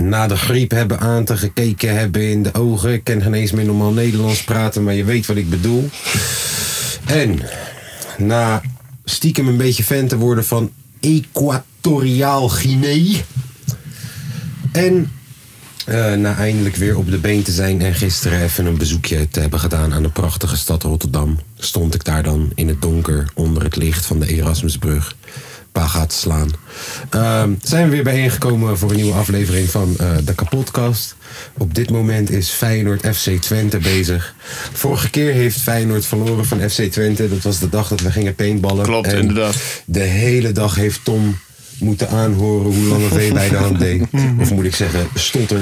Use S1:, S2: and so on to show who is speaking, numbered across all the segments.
S1: Na de griep hebben aan te gekeken, hebben in de ogen. Ik kan geen eens meer normaal Nederlands praten, maar je weet wat ik bedoel. En na stiekem een beetje fan te worden van Equatoriaal Guinea. En eh, na eindelijk weer op de been te zijn en gisteren even een bezoekje te hebben gedaan aan de prachtige stad Rotterdam, stond ik daar dan in het donker onder het licht van de Erasmusbrug. Paar gaat slaan. Ehm, zijn we weer bijeengekomen voor een nieuwe aflevering van eh, de Kapotkast. Op dit moment is Feyenoord FC Twente bezig. Vorige keer heeft Feyenoord verloren van FC Twente. Dat was de dag dat we gingen paintballen.
S2: Klopt, inderdaad.
S1: De hele dag heeft Tom moeten aanhoren hoe Lange V bij de hand deed. Of moet ik zeggen, stotter.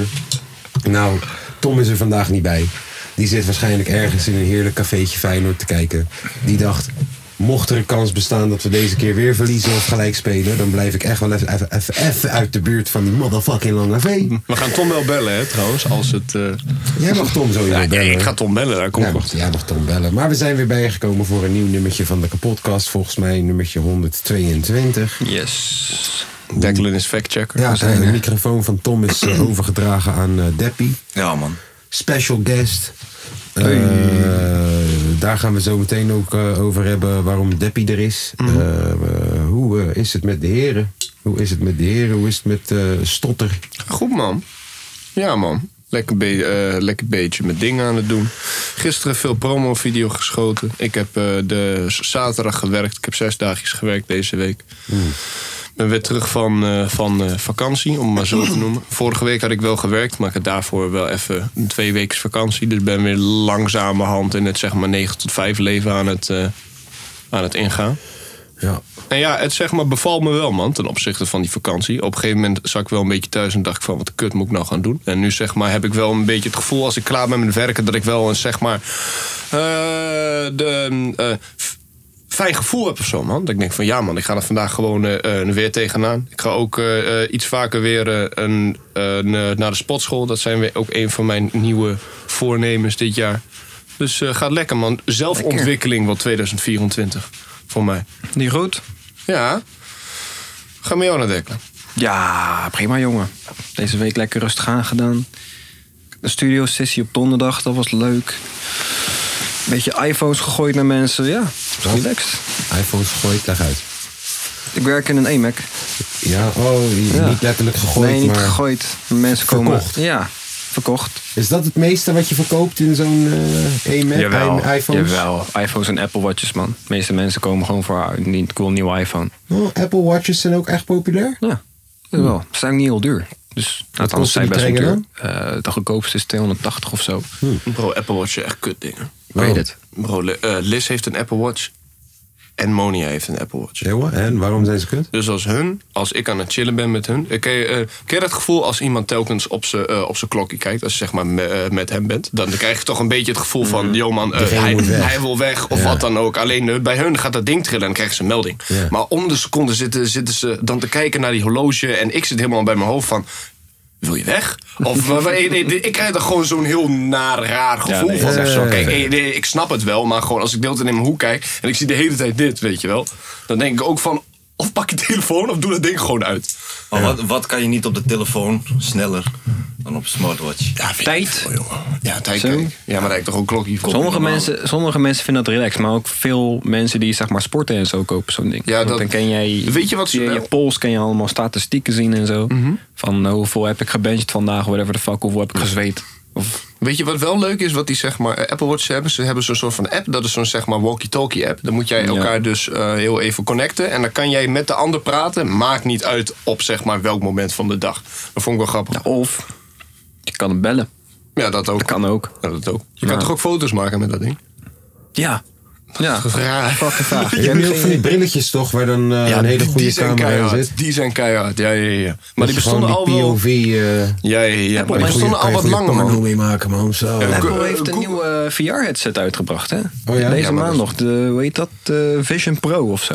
S1: Nou, Tom is er vandaag niet bij. Die zit waarschijnlijk ergens in een heerlijk cafeetje Feyenoord te kijken. Die dacht, mocht er een kans bestaan dat we deze keer weer verliezen of gelijk spelen... dan blijf ik echt wel even, even, even, even uit de buurt van die motherfucking Lange V.
S2: We gaan Tom wel bellen, hè, trouwens. Als het, eh,
S1: Jij mag Tom zo
S2: ja,
S1: iemand bellen.
S2: ik ga Tom bellen, daar komt
S1: Ja, wacht, ja, wacht dan bellen. Maar we zijn weer bijgekomen voor een nieuw nummertje van de kapotkast. Volgens mij nummertje 122.
S2: Yes. Declan is factchecker.
S1: Ja,
S2: We zijn
S1: de
S2: er.
S1: Dus, eh, microfoon van Tom is eh, overgedragen aan eh Deppie.
S3: Ja, man.
S1: Special guest. Eh, daar gaan we zo meteen ook eh, over hebben waarom Deppie er is. Eh, eh, hoe eh, is het met de heren? Hoe is het met de heren? Hoe is het met eh, Stotter?
S2: Goed, man. Ja, man. Lekker, be- eh, lekker beetje met dingen aan het doen. Gisteren veel promo-video geschoten. Ik heb eh, de z- zaterdag gewerkt. Ik heb zes dagjes gewerkt deze week. ben weer terug van, eh, van eh, vakantie, om het maar zo te noemen. Vorige week had ik wel gewerkt, maar ik had daarvoor wel even een twee weken vakantie. Dus ben weer langzamerhand in het zeg maar 9 tot 5 leven aan het, eh, aan het ingaan.
S1: Ja.
S2: En ja, het zeg maar bevalt me wel, man, ten opzichte van die vakantie. Op een gegeven moment zat ik wel een beetje thuis en dacht ik van, wat de kut moet ik nou gaan doen? En nu zeg maar heb ik wel een beetje het gevoel als ik klaar ben met werken, dat ik wel een zeg maar eh, de, eh, f- fijn gevoel heb of zo, man. Dat ik denk van, ja man, ik ga er vandaag gewoon eh, eh, weer tegenaan. Ik ga ook eh, eh, iets vaker weer eh, een, een, eh, naar de sportschool. Dat zijn weer ook een van mijn nieuwe voornemens dit jaar. Dus eh, gaat lekker, man. Zelfontwikkeling wat 2024 voor mij.
S3: Die goed?
S2: Ja. Ga met jou naar Declan.
S3: Ja, prima jongen. Deze week lekker rustig aangedaan. Een studio sessie op donderdag, dat was leuk. Een beetje iPhones gegooid naar mensen, ja. Relaxed.
S1: iPhones gegooid, leg uit.
S3: Ik werk in een EMAC.
S1: Ja, oh, die-
S3: Ja.
S1: niet letterlijk gegooid,
S3: nee, niet
S1: maar...
S3: gegooid. Mensen komen.
S1: Verkocht.
S3: Ja, verkocht.
S1: Is dat het meeste wat je verkoopt in zo'n eh e-mac, i- iPhones?
S3: jawel. iPhones en Apple Watches, man. De meeste mensen komen gewoon voor een niet cool nieuwe iPhone.
S1: Oh, Apple Watches zijn ook echt populair?
S3: Ja, dat wel. Ze zijn ook niet heel duur. Dus nou, anders
S1: kost
S3: zijn
S1: Hmm. die
S3: best wel duur.
S1: trainer
S3: Eh, de goedkoopste is 280 of zo.
S2: Hm. Bro, Apple Watch zijn echt kut dingen.
S3: Ik
S1: Oh.
S3: weet het.
S2: Bro, Li- eh, Liz heeft een Apple Watch. En Monia heeft een Apple Watch.
S1: Jongen, en waarom zijn ze kut?
S2: Dus als hun, als ik aan het chillen ben met hun. eh, Ken je, eh, ken je dat gevoel als iemand telkens op zijn eh, op zijn klokje kijkt? Als je zeg maar me- eh, met hem bent. Dan krijg je toch een beetje het gevoel van: yo man, eh,
S1: Diegene
S2: hij,
S1: Mm. moet weg.
S2: hij wil weg of wat dan ook. Alleen eh, bij hun gaat dat ding trillen en dan krijgen ze een melding.
S1: Ja.
S2: Maar om de seconde zitten, zitten ze dan te kijken naar die horloge. En ik zit helemaal bij mijn hoofd van. Wil je weg? Of wa- wa- nee, nee, ik krijg er gewoon zo'n heel naar, raar gevoel
S3: nee,
S2: van.
S1: dat is echt zo.
S2: Kijk, eh, nee, ik snap het wel, maar gewoon als ik de hele tijd in mijn hoek kijk en ik zie de hele tijd dit, weet je wel. Dan denk ik ook van, of pak je telefoon of doe dat ding gewoon uit.
S4: Maar wat, wat kan je niet op de telefoon sneller dan op een smartwatch?
S2: Ja, vind ik
S3: Tijd?
S2: niet veel, jongen. Ja, tijd
S3: Zo?
S2: kijk ik. Ja, maar daar heb ik toch ook klokje voor.
S3: Sommige
S2: Normaal.
S3: mensen, sommige mensen vinden dat relaxed, maar ook veel mensen die zeg maar sporten en zo kopen zo'n ding.
S2: Ja,
S3: Want
S2: dat-
S3: dan ken jij,
S2: Weet je wat ze
S3: je, je
S2: wel- Mhm.
S3: pols kan je allemaal statistieken zien en zo. Van eh, hoeveel heb ik gebenched vandaag, whatever the fuck, hoeveel heb ik gezweet. Of,
S2: Weet je wat wel leuk is, wat die zeg maar, eh, Apple Watch hebben? Ze hebben zo'n soort van app, dat is zo'n zeg maar walkie-talkie app. Dan moet jij
S3: Ja.
S2: elkaar dus eh, heel even connecten. En dan kan jij met de ander praten. Maakt niet uit op zeg maar welk moment van de dag. Dat vond ik wel grappig.
S3: nou, of je kan hem bellen.
S2: Ja, dat ook.
S3: Dat kan ook.
S2: Ja, dat ook. Je
S3: Ja.
S2: kan toch ook foto's maken met dat ding?
S3: Ja. Ja, fucking vraag.
S1: Je hebt nu ook van die brilletjes toch, waar dan eh, een hele
S2: die-
S1: goede
S2: die zijn
S1: camera in
S2: keihard.
S1: zit.
S2: Die zijn keihard, ja, ja, ja. Maar die
S1: Dat je gewoon
S2: bestonden al
S1: die
S2: wel...
S1: POV, eh,
S2: Ja, ja, ja. Maar die
S1: goeie-
S2: bestonden
S1: kan
S2: al
S1: je
S2: wat
S1: goeie
S2: langer,
S1: porno
S2: man.
S1: mee maken, man. Zo.
S2: Ja,
S3: Apple
S2: Go-
S3: heeft
S2: eh,
S3: een
S2: Go-
S3: nieuwe VR-headset uitgebracht, hè?
S1: Oh ja?
S3: Deze
S1: Ja, maar
S3: maand
S1: dat-
S3: nog. De, hoe heet dat? Eh, Vision Pro of zo.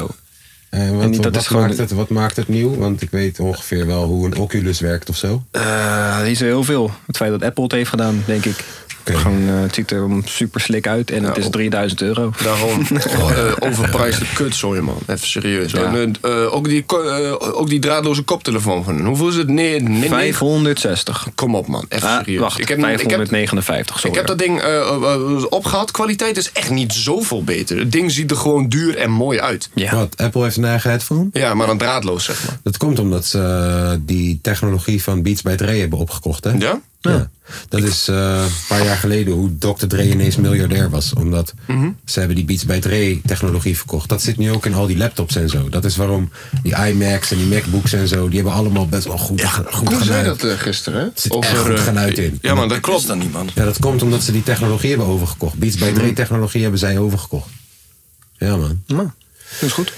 S1: En Eh, wat,
S3: En die- dat
S1: wat
S3: is gewoon
S1: maakt
S3: de-
S1: het, wat maakt het nieuw? Want ik weet ongeveer wel hoe een Oculus werkt of zo.
S3: Eh, die is er heel veel. Het feit dat Apple het heeft gedaan, denk ik.
S1: Oké.
S3: Gewoon, eh, het ziet er super slik uit en het is
S2: Nou, op-
S3: 3000 euro.
S2: Daarom. Eh, overprijsde kutzooi, man. Even serieus.
S3: Ja.
S2: En, eh, ook, die, ko- eh, ook die draadloze koptelefoon van hun. Hoeveel is het? Nee, nee, nee.
S3: 560.
S2: Kom op, man. Echt
S3: Ah,
S2: serieus.
S3: wacht,
S2: ik heb, ik heb,
S3: 559. sorry.
S2: ik heb dat ding eh, eh, eh, opgehad. Kwaliteit is echt niet zoveel beter. Het ding ziet er gewoon duur en mooi uit.
S3: Ja.
S1: Wat, Apple heeft een eigen headphone?
S2: Ja, maar dan draadloos, zeg maar.
S1: Dat komt omdat ze eh, die technologie van Beats by Dre hebben opgekocht, hè?
S2: Ja?
S1: Ja. Dat is eh, een paar jaar geleden hoe Dr. Dre ineens miljardair was. Omdat
S2: Mhm.
S1: ze hebben die Beats by Dre technologie verkocht. Dat zit nu ook in al die laptops en zo. Dat is waarom die iMacs en die MacBooks en zo... die hebben allemaal best wel goed, goed
S2: Koen zei
S1: geluid.
S2: dat eh, gisteren, hè?
S1: zit echt goed
S2: eh,
S1: geluid in.
S2: Ja, maar dat
S4: Klopt
S2: klopt.
S4: dat niet, man.
S1: Ja, dat komt omdat ze die technologie hebben overgekocht. Beats by
S2: Mhm.
S1: Dre technologie hebben zij overgekocht. Ja, man.
S3: Nou, dat is goed.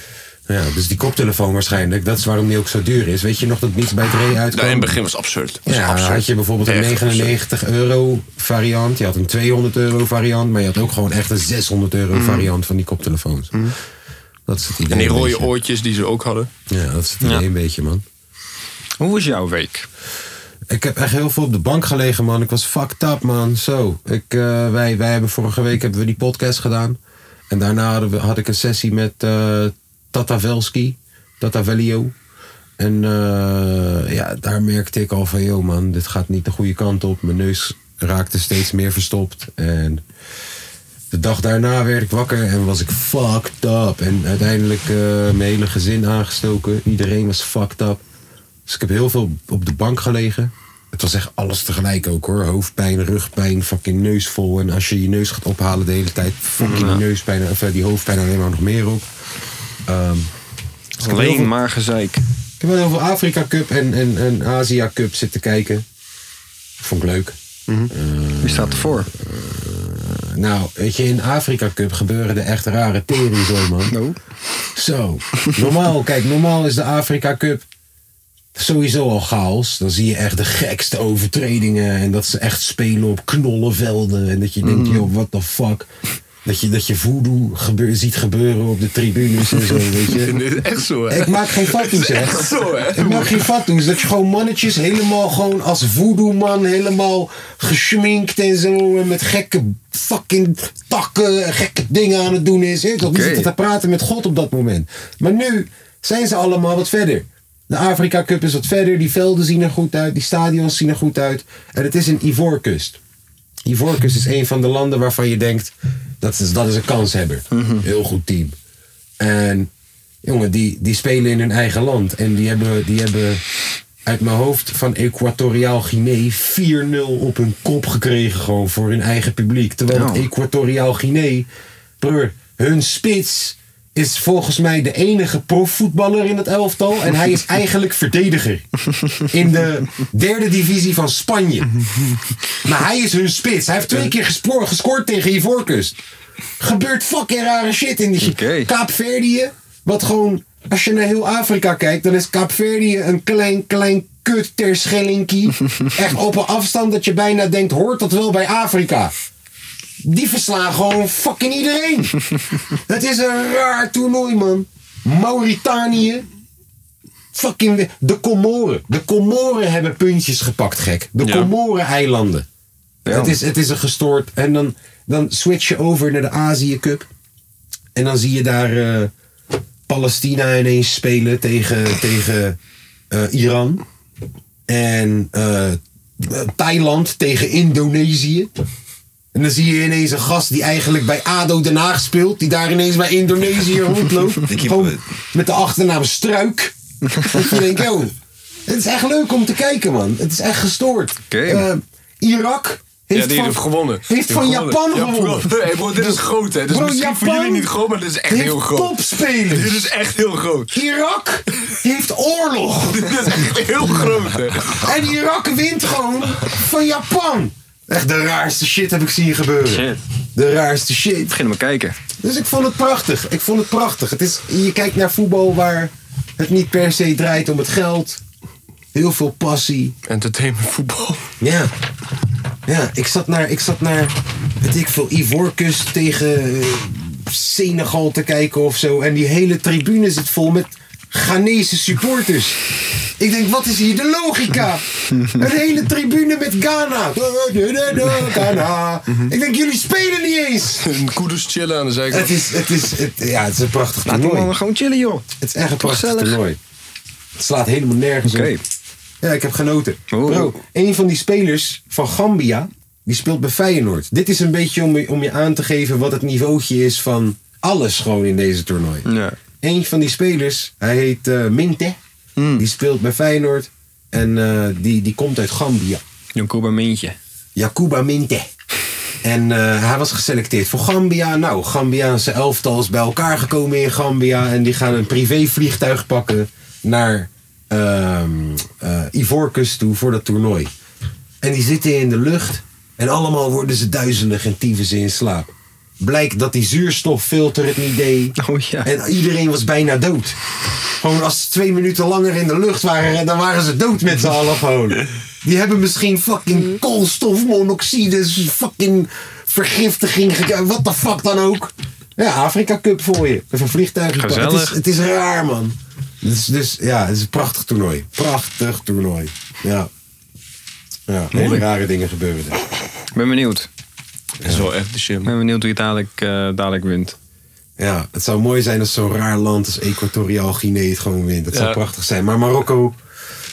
S1: Ja, dus die koptelefoon waarschijnlijk. Dat is waarom die ook zo duur is. Weet je nog dat Beats by Dre uitkwam?
S2: Ja, in het begin was het absurd. Was
S1: Ja,
S2: absurd.
S1: had je bijvoorbeeld een
S2: Echt absurd.
S1: 99 euro variant. Je had een 200 euro variant. Maar je had ook gewoon echt een 600 euro variant van die koptelefoons. Dat is het idee.
S2: Mm. En die
S1: een
S2: rode
S1: beetje.
S2: oortjes die ze ook hadden.
S1: Ja, dat is het idee
S3: Ja.
S1: een beetje, man.
S3: Hoe was jouw week?
S1: Ik heb echt heel veel op de bank gelegen, man. Ik was fucked up, man. Zo, ik, eh, wij, wij hebben vorige week hebben we die podcast gedaan. En daarna hadden we, had ik een sessie met eh Tatavelski, Tatavelio. En eh, ja, daar merkte ik al van, yo man, dit gaat niet de goede kant op. Mijn neus raakte steeds meer verstopt. En de dag daarna werd ik wakker en was ik fucked up. En uiteindelijk eh, mijn hele gezin aangestoken. Iedereen was fucked up. Dus ik heb heel veel op de bank gelegen. Het was echt alles tegelijk ook hoor. Hoofdpijn, rugpijn, fucking neusvol. En als je je neus gaat ophalen de hele tijd, fucking die neuspijn, of eh, die hoofdpijn alleen maar nog meer op. Ehm, dus ik heb heel veel-
S3: Alleen maar gezeik.
S1: ik heb wel heel veel Afrika Cup en, en, en Azië Cup zitten kijken. Vond ik leuk.
S3: Wie staat ervoor?
S1: Nou, weet je, in Afrika Cup gebeuren de echt rare tering zo, man.
S3: No.
S1: Zo. Normaal, kijk, normaal is de Afrika Cup sowieso al chaos. Dan zie je echt de gekste overtredingen. En dat ze echt spelen op knollenvelden. En dat je denkt, joh, what the fuck. Dat je, dat je voodoo gebeur, ziet gebeuren op de tribunes en zo, weet je.
S2: Echt zo, hè?
S1: Ik maak geen fatsoens, echt.
S2: zo, hè?
S1: Ik maak geen fatsoens. Dat je gewoon mannetjes helemaal gewoon als voodoo-man helemaal geschminkt en zo. En met gekke fucking takken en gekke dingen aan het doen is. Hè? Toch? Die
S3: Oké.
S1: zitten te praten met God op dat moment. Maar nu zijn ze allemaal wat verder. De Afrika Cup is wat verder. Die velden zien er goed uit. Die stadions zien er goed uit. En het is een Ivoorkust. Ivoorkust is een van de landen waarvan je denkt... dat is, dat is een kanshebber.
S2: Mhm.
S1: Heel goed team. En jongen, die, die spelen in hun eigen land. En die hebben, die hebben uit mijn hoofd van Equatoriaal Guinea 4-0 op hun kop gekregen. Gewoon voor hun eigen publiek. Terwijl het
S3: Nou.
S1: Equatoriaal Guinea, broer, hun spits is volgens mij de enige profvoetballer in het elftal. En hij is eigenlijk verdediger. In de derde divisie van Spanje. Maar hij is hun spits. Hij heeft twee keer gespoor, gescoord tegen Ivoorkust. Gebeurt fucking rare shit in die
S3: Oké.
S1: Kaapverdië. Wat gewoon, als je naar heel Afrika kijkt, dan is Kaapverdië een klein, klein kut ter Echt op een afstand dat je bijna denkt, hoort dat wel bij Afrika? Die verslaan gewoon fucking iedereen. Het is een raar toernooi, man. Mauritanië. Fucking we- de Comoren. De Comoren hebben puntjes gepakt, gek. De
S2: Ja.
S1: Comoren-eilanden.
S3: Ja.
S1: Het, is, het is een gestoord. En dan, dan switch je over naar de Azië Cup. En dan zie je daar eh, Palestina ineens spelen tegen, tegen eh, Iran. En eh, Thailand tegen Indonesië. En dan zie je ineens een gast die eigenlijk bij ADO Den Haag speelt. Die daar ineens bij Indonesië rondloopt.
S4: keeper.
S1: Gewoon met de achternaam Struik. dat je denkt, yo, het is echt leuk om te kijken, man. Het is echt gestoord.
S3: Oké.
S1: Eh, Irak heeft
S2: ja, die
S1: van,
S2: heeft gewonnen.
S1: Heeft van Japan gewonnen.
S2: Hey bro, dit is groot, hè? Dit is
S1: Bro,
S2: misschien voor
S1: Japan
S2: jullie niet groot, maar dit is echt
S1: heeft
S2: heel groot.
S1: topspelers.
S2: Dit is echt heel groot.
S1: Irak heeft oorlog.
S2: Dit is echt heel groot, hè?
S1: En Irak wint gewoon van Japan. Echt de raarste shit heb ik zien gebeuren.
S3: Shit.
S1: De raarste shit.
S3: Beginnen maar kijken.
S1: Dus ik vond het prachtig. Ik vond het prachtig. Het is, je kijkt naar voetbal waar het niet per se draait om het geld. Heel veel passie.
S2: Entertainment voetbal.
S1: Ja. Ja, ik zat naar, ik zat naar weet ik veel, Ivorcus tegen eh, Senegal te kijken of zo. En die hele tribune zit vol met Ghanese supporters. Ik denk, wat is hier de logica? Een hele tribune met Ghana. Eh, Ghana.
S3: Mhm.
S1: Ik denk, jullie spelen niet eens.
S2: Een koeders chillen aan de zijkant.
S1: Het is, het is, het- ja, het is een prachtig
S3: Laat die
S1: toernooi.
S3: mannen gewoon chillen, joh.
S1: Het is echt een prachtig
S3: Gezellig.
S1: toernooi. Het slaat helemaal nergens
S3: Oké.
S1: op. Ja, ik heb genoten.
S3: Oh.
S1: Bro, een van die spelers van Gambia, die speelt bij Feyenoord. Dit is een beetje om, je- om je aan te geven wat het niveautje is van alles gewoon in deze toernooi.
S3: Ja.
S1: Een van die spelers, hij heet eh, Minte.
S3: Hmm.
S1: Die speelt bij Feyenoord. En eh, die, die komt uit Gambia.
S3: Jonkoba Mintje.
S1: Jacuba Minte. En eh, hij was geselecteerd voor Gambia. Nou, Gambiaanse elftal is bij elkaar gekomen in Gambia. En die gaan een privévliegtuig pakken naar ehm eh, Ivoorkust toe voor dat toernooi. En die zitten in de lucht. En allemaal worden ze duizelig en tieven ze in slaap. Blijkt dat die zuurstoffilter het niet deed.
S3: Oh ja.
S1: En iedereen was bijna dood. Gewoon als ze twee minuten langer in de lucht waren, dan waren ze dood met z'n allen gewoon. Die hebben misschien fucking koolstofmonoxide, fucking vergiftiging, gek- wat de fuck dan ook. Ja, Afrika Cup voor je. Even een vliegtuig.
S3: Gezellig.
S1: Het is, het is raar, man. Dus, dus ja, het is een prachtig toernooi. Prachtig toernooi. Ja. Ja, hele rare dingen gebeuren er.
S3: Ik ben benieuwd.
S2: Dat is wel echt de shit.
S3: Ik ben benieuwd wie dadelijk, eh, dadelijk wint.
S1: Ja, het zou mooi zijn als zo'n raar land als Equatoriaal Guinea het gewoon wint. Dat zou
S2: Ja.
S1: prachtig zijn. Maar Marokko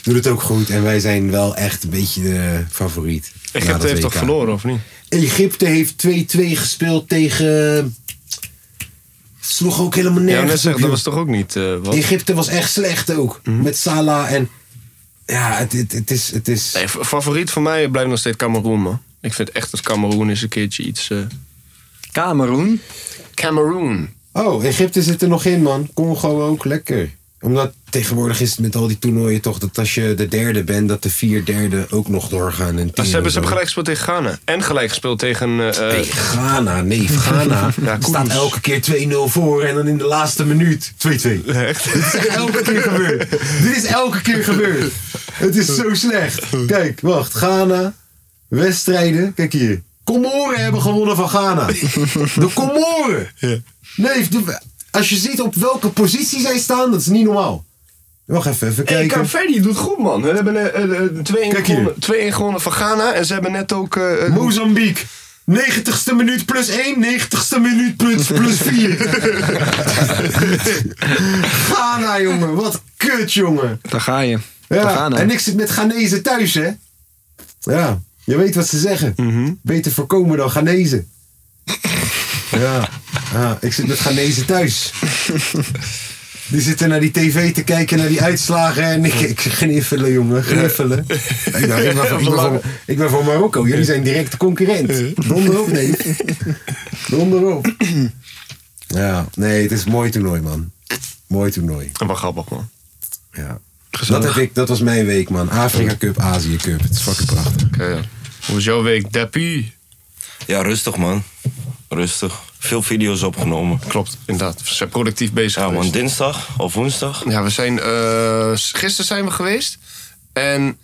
S1: doet het ook goed. En wij zijn wel echt een beetje de favoriet. na dat
S2: Egypte heeft toch
S1: WK.
S2: verloren, of niet?
S1: Egypte heeft 2-2 gespeeld tegen... Sloeg ook helemaal
S2: Ja, net
S1: nergens op,
S2: zeggen,
S1: joh.
S2: dat was Mhm. toch ook niet eh, wat?
S1: Egypte was echt slecht ook. Met Salah en... Ja, het, het, het is... Het is
S2: Nee, fa- favoriet voor mij blijft nog steeds Cameroen, man. Ik vind echt dat Cameroen eens een keertje iets... eh
S3: Kameroen.
S2: Cameroen.
S1: Oh, Egypte zit er nog in, man. Congo ook, lekker. Omdat tegenwoordig is het met al die toernooien toch dat als je de derde bent, dat de vier derde ook nog doorgaan. En
S2: Maar
S1: tien
S2: ze hebben,
S1: en
S2: ze hebben
S1: zo.
S2: gelijk gespeeld tegen Ghana. En gelijk gespeeld tegen... eh
S1: Hey, Ghana, nee, Ghana
S2: Ja, Koens.
S1: staat elke keer 2-0 voor en dan in de laatste minuut 2-2. Dit
S2: Echt?
S1: is elke keer gebeurd. Dit is elke keer gebeurd. Het is zo slecht. Kijk, wacht, Ghana, wedstrijden, kijk hier. Comoren hebben gewonnen van Ghana. De Comoren. Nee, de- als je ziet op welke positie zij staan, dat is niet normaal. Wacht even, even
S2: Hey,
S1: kijken.
S2: Kaapverdi doet goed, man. We hebben eh, eh, eh, twee in
S1: Kijk
S2: gewonnen-
S1: hier.
S2: twee in gewonnen van Ghana. En ze hebben net ook... eh, eh,
S1: Mozambique. 90ste minuut plus 1, 90ste minuut plus, plus 4. Ghana, jongen. Wat kut, jongen.
S3: Daar ga Ah, je. Daar
S1: Ja,
S3: gaan we.
S1: en ik zit met Ghanese thuis, hè. Ja, je weet wat ze zeggen.
S3: Mhm.
S1: Beter voorkomen dan Ghanese. ja. ja, ik zit met Ghanese thuis. Die zitten naar die tv te kijken, naar die uitslagen. En ik, ik gniffelen, jongen, gniffelen. Ik, dacht, ik, ben voor, ik, ben voor, ik ben voor Marokko. Jullie zijn directe concurrent. Donder op, nee. Donder op. Ja, nee, het is een mooi toernooi, man. Mooi toernooi,
S2: Wat grappig, man.
S1: ja. Dat, heb ik, dat was mijn week, man. Afrika Cup, Azië Cup. Het is fucking prachtig.
S2: Oké, ja. Hoe was jouw week, Deppie?
S4: Ja, rustig man. Rustig. Veel video's opgenomen.
S2: Klopt, inderdaad. We zijn productief bezig
S4: Ja
S2: geweest.
S4: man, dinsdag of woensdag.
S2: Ja, we zijn. eh, gisteren zijn we geweest. En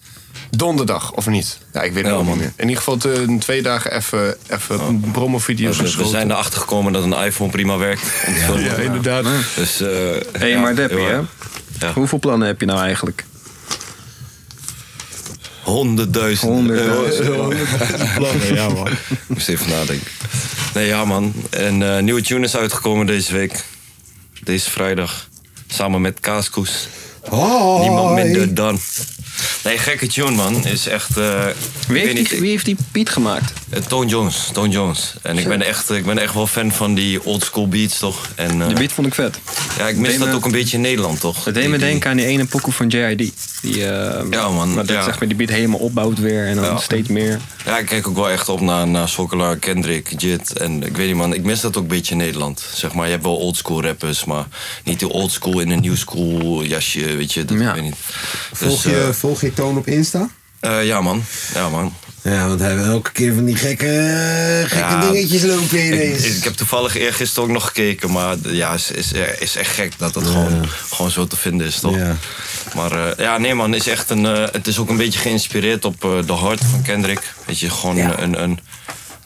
S2: donderdag, of niet? Ja, Oh. ik weet het
S4: Ja,
S2: allemaal
S4: man.
S2: niet meer. In ieder geval te- twee dagen even, even promovideo's
S4: We, we
S2: geschoten.
S4: zijn erachter gekomen dat een iPhone prima werkt. om te filmen.
S2: ja, inderdaad.
S4: Dus, eh
S3: Hé,
S4: ja,
S3: maar Deppie,
S4: heel
S3: hè?
S4: erg. Ja.
S3: Hoeveel plannen heb je nou eigenlijk?
S4: Honderdduizend.
S3: Honderdduizend.
S4: euro. Moest even nadenken. Nee, ja man. En eh, nieuwe tune is uitgekomen deze week. Deze vrijdag. Samen met Kaaskoes.
S1: Hoi.
S4: Niemand minder dan. Nee, gekke tune man. Is echt... eh, ik
S3: Wie
S4: weet
S3: heeft,
S4: niet,
S3: die, wie heeft die Piet gemaakt?
S4: eh, Tone Jones. Tone Jones. En ik ben, echt, eh, ik ben echt wel fan van die old school beats toch. En, eh,
S3: De beat vond ik vet.
S4: ja, ik mis
S3: deed
S4: dat
S3: me-
S4: ook een beetje in Nederland toch.
S3: Dat deed
S4: Die-
S3: me
S4: die-
S3: denken aan die ene pokoe van JID. Die, eh,
S4: Ja, man,
S3: Dat
S4: ja.
S3: zeg maar, die beat helemaal opbouwt weer en dan
S4: Ja.
S3: steeds meer.
S4: Ja, ik kijk ook wel echt op naar, naar Sokolaar, Kendrick, Jit. En ik weet niet, man, ik mis dat ook een beetje in Nederland. Zeg maar, je hebt wel oldschool rappers, maar niet de oldschool in een new school jasje, weet je. Dat,
S3: Ja.
S4: ik weet niet. Dus,
S1: Volg je,
S4: eh,
S1: volg je Toon op Insta?
S4: eh, ja, man. Ja, man.
S1: Ja, want hij heeft elke keer van die gekke, gekke
S4: Ja.
S1: dingetjes lopen
S4: Ik,
S1: ineens.
S4: ik heb toevallig eergisteren ook nog gekeken, maar d- ja, is, is, eh, is echt gek dat dat gewoon, gewoon zo te vinden is, toch?
S1: Ja.
S4: Maar eh, ja, nee man, is echt een, eh, het is ook een beetje geïnspireerd op eh The Heart van Kendrick. Weet je, gewoon een, een,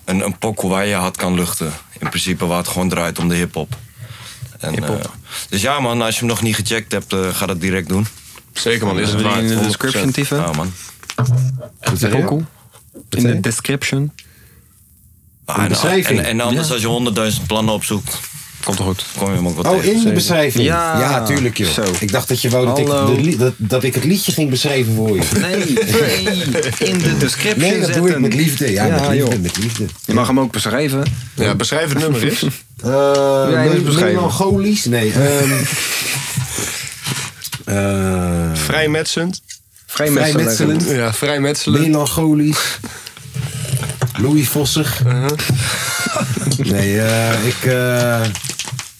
S4: een, een pokoe waar je hard kan luchten. In principe waar het gewoon draait om de hip-hop. En, eh, dus ja man, als je hem nog niet gecheckt hebt, eh, ga dat direct doen.
S2: Zeker man, is
S3: Zullen
S2: het
S3: we die
S2: waard.
S3: in de
S2: 100%.
S3: description typen?
S4: Ja man.
S1: Wat zeg je?
S3: Pokoe. In
S1: zei
S3: de
S1: je?
S3: description.
S4: Ah, en,
S1: beschrijving.
S4: en, en anders
S3: Ja.
S4: als je honderdduizend plannen opzoekt,
S3: Komt goed.
S4: kom je hem ook wat
S1: Oh,
S4: tegen.
S1: in de beschrijving?
S3: Ja.
S1: tuurlijk joh.
S3: Zo.
S1: Ik dacht dat je wou dat ik,
S3: Hallo.
S1: de li- dat, dat ik het liedje ging beschrijven voor je.
S3: Nee, nee. In de description
S1: Nee, dat doe ik
S3: zetten.
S1: met liefde. Ja, met liefde,
S3: joh. Eh,
S1: met liefde.
S3: Je mag hem ook beschrijven.
S2: Ja, beschrijf het nummer eens.
S1: Eh,
S3: jij
S1: me-
S3: moet beschrijven.
S1: Melancholisch? Nee. ehm eh,
S2: Vrijmetsend.
S1: Vrijmetselend.
S3: Vrijmetselend.
S2: Ja, vrijmetselend.
S1: melancholisch. Louis Vossig. Nee, eh, ik, eh,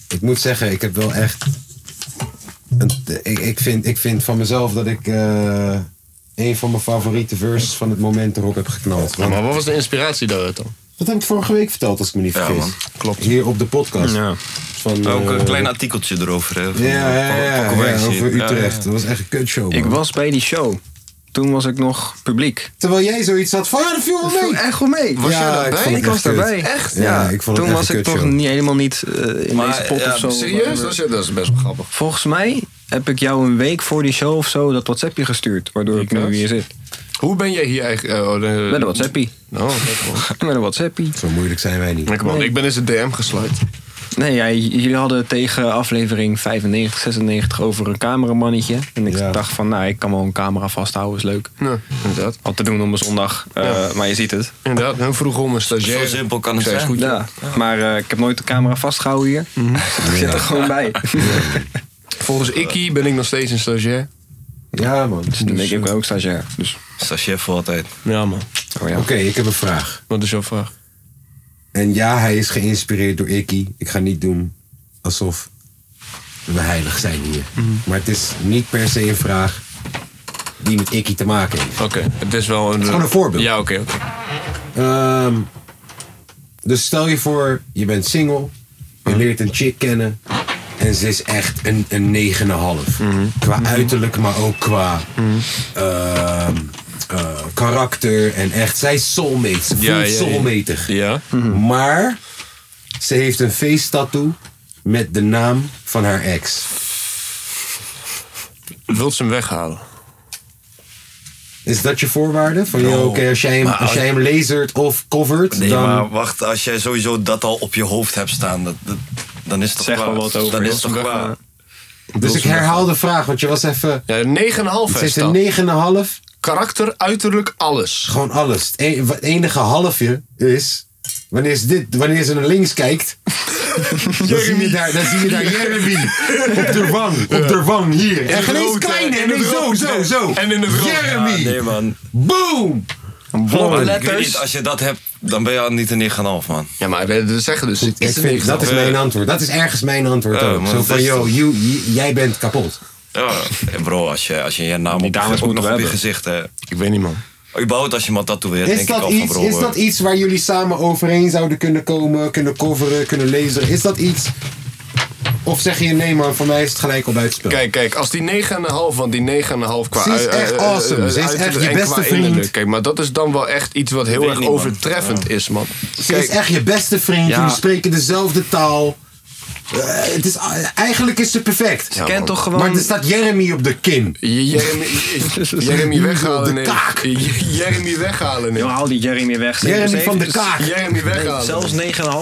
S1: ik moet zeggen, ik heb wel echt... een- ik, ik, vind, ik vind van mezelf dat ik eh, een van mijn favoriete verses van het moment erop heb geknald. Want-
S2: Maar wat was de inspiratie daaruit dan?
S1: Dat heb ik vorige week verteld, als ik me niet
S4: Ja,
S1: vergis.
S4: man,
S2: klopt.
S1: Hier op de podcast.
S3: Ja.
S1: Van,
S4: Ook
S1: eh,
S4: een klein artikeltje erover. Hè, van-
S1: Ja, ja,
S4: van-
S1: ja,
S4: van
S1: ja,
S4: Kovacic.
S1: over
S4: Ja, ja,
S1: Utrecht.
S4: ja.
S1: Dat was echt een kutshow.
S3: Ik
S1: man.
S3: was bij die show. Toen was ik nog publiek.
S1: Terwijl jij zoiets had, vader viel wel mee.
S3: Echt goed mee.
S1: Was jij daarbij?
S3: ik,
S1: Oh, Ik vond het
S3: was
S1: echt kut.
S3: daarbij.
S1: Echt?
S3: Ja,
S1: Ja, ik vond het
S3: toen
S1: echt
S3: was
S1: een
S3: ik toch
S1: kutshow.
S3: niet, helemaal niet eh, in
S4: Maar,
S3: deze pot
S4: ja,
S3: of zo.
S2: Serieus? Dat is, dat is best wel grappig.
S3: Volgens mij heb ik jou een week voor die show of zo dat WhatsAppje gestuurd. Waardoor ik nu
S2: was?
S3: hier zit.
S2: Hoe ben jij hier eigenlijk... Oh, de-
S3: Met een WhatsAppie.
S2: Nou, lekker, man.
S3: Met een WhatsAppie.
S1: Zo moeilijk zijn wij niet.
S2: Lekker, man. Ik ben in zijn DM gesluit.
S3: Nee, ja, j- jullie hadden tegen aflevering 95, 96 over een cameramannetje. En ik
S1: Ja.
S3: dacht van, nou, ik kan wel een camera vasthouden, is leuk.
S2: Ja, inderdaad.
S3: Wat te doen op een zondag, eh, maar je ziet het.
S2: Inderdaad, hun vroeg om een stagiair.
S4: Zo simpel kan het
S2: Ik zei,
S4: zijn.
S2: is goed,
S3: Ja, maar eh, ik heb nooit de camera vastgehouden hier. Ik zit er gewoon bij. Dus
S2: Volgens Ikkie ben ik nog steeds een stagiair.
S1: Ja, man.
S3: Dus dan ben ik ook stagiair. Dus,
S4: Stagiair voor altijd.
S2: Ja, man.
S3: oh ja.
S1: Oké, ik heb een vraag.
S2: Wat is jouw vraag?
S1: En ja, hij is geïnspireerd door Ikkie. Ik ga niet doen alsof we heilig zijn hier.
S2: Mhm.
S1: Maar het is niet per se een vraag die met Ikkie te maken heeft.
S2: Oké, het is wel een... Het is
S1: gewoon een voorbeeld.
S2: Ja, oké. oké.
S1: Ehm, dus stel je voor, je bent single,
S2: Mhm.
S1: je leert een chick kennen en ze is echt een, een 9,5.
S2: Mhm.
S1: Qua uiterlijk, maar ook qua ehm, eh, karakter en echt. Zij is soulmate, ze voelt
S2: Ja, ja, ja.
S1: soulmatig.
S2: Ja?
S1: Mm. Maar ze heeft een feesttattoo met de naam van haar ex.
S2: Wilt ze hem weghalen?
S1: Is dat je voorwaarde? Van, joh, oké, als jij hem,
S4: maar
S1: Nou, als
S4: als-
S1: jij hem lasert of covert,
S4: Nee,
S1: dan... dus
S4: maar wacht, als jij sowieso dat al op je hoofd hebt staan, dat, dat- dan is het toch
S3: Zeg
S4: klaar.
S3: wel wat over,
S4: Dan is
S3: joh.
S4: het toch klaar.
S1: dus ik herhaal de vraag, want je was even...
S2: Ja, 9,5
S1: Ze
S2: is
S1: heeft
S2: dat.
S1: een 9,5.
S2: Karakter, uiterlijk, alles.
S1: Gewoon alles. Het e- wat enige halfje is. Wanneer ze, dit, wanneer ze naar links kijkt. dan, zie je daar, dan zie je daar Jeremy. Op de wang. Op de wang hier. En geen eens
S2: rood, hè?
S1: kleine.
S2: En
S1: En nee,
S2: de
S1: zo,
S2: rood,
S1: zo,
S2: hè?
S1: zo.
S2: Oh. En in de rood.
S1: Jeremy.
S4: Ah, Nee, man.
S1: Boom.
S4: Maar ik weet
S3: letters.
S4: niet, als je dat hebt, dan ben je al niet een 9,5, man.
S2: Ja, maar dat dat zeggen dus niet.
S1: Ik vind, dat is mijn antwoord. Dat is ergens mijn antwoord
S4: Eh,
S1: ook.
S4: maar
S1: Zo
S4: dat
S1: van,
S4: is
S1: yo,
S4: toch-
S1: you- j- jij bent kapot.
S4: Ja. En Eh, bro, als je, als je je naam op,
S3: dames
S4: hebt, ook
S3: moeten
S4: nog
S3: we
S4: op je
S3: hebben.
S4: gezicht hè.
S2: Ik weet niet, man.
S4: Überhaupt als je iemand
S1: Is
S4: tatoeëert, denk ik
S1: dat,
S4: al van
S1: iets,
S4: bro.
S1: is
S4: eh,
S1: dat iets waar jullie samen overeen zouden kunnen komen, kunnen coveren, kunnen lezen? Is dat iets... Of zeg je, nee man, voor mij is het gelijk op buitenspel.
S2: Kijk, kijk, als die 9,5, want die 9,5 qua...
S1: Ze is
S2: ui- ui-
S1: echt
S2: ui-
S1: awesome.
S2: ui-
S1: Ze is echt
S2: uiterlijk
S1: je
S2: en
S1: beste
S2: qua
S1: vriend.
S2: innerlijk. Kijk, maar dat is dan wel echt iets wat heel
S4: weet
S2: erg
S4: niet, man.
S2: overtreffend is, man.
S1: Ze is echt je beste vriend.
S3: Ja.
S1: Jullie spreken dezelfde taal. Eh, het is, eigenlijk is ze perfect.
S3: Ken
S2: man.
S3: toch
S1: maar
S3: gewoon...
S1: er staat Jeremy op de kin.
S2: Je- Jeremy, Jeremy weghalen.
S1: De
S2: nee.
S1: kaak.
S2: Je- Jeremy weghalen. nee.
S3: Joh, haal die Jeremy weg. Ze- ze
S1: Jeremy
S3: heeft
S1: van de
S3: dus-
S1: Kaak.
S2: Jeremy weghalen.
S3: Zelfs 9,5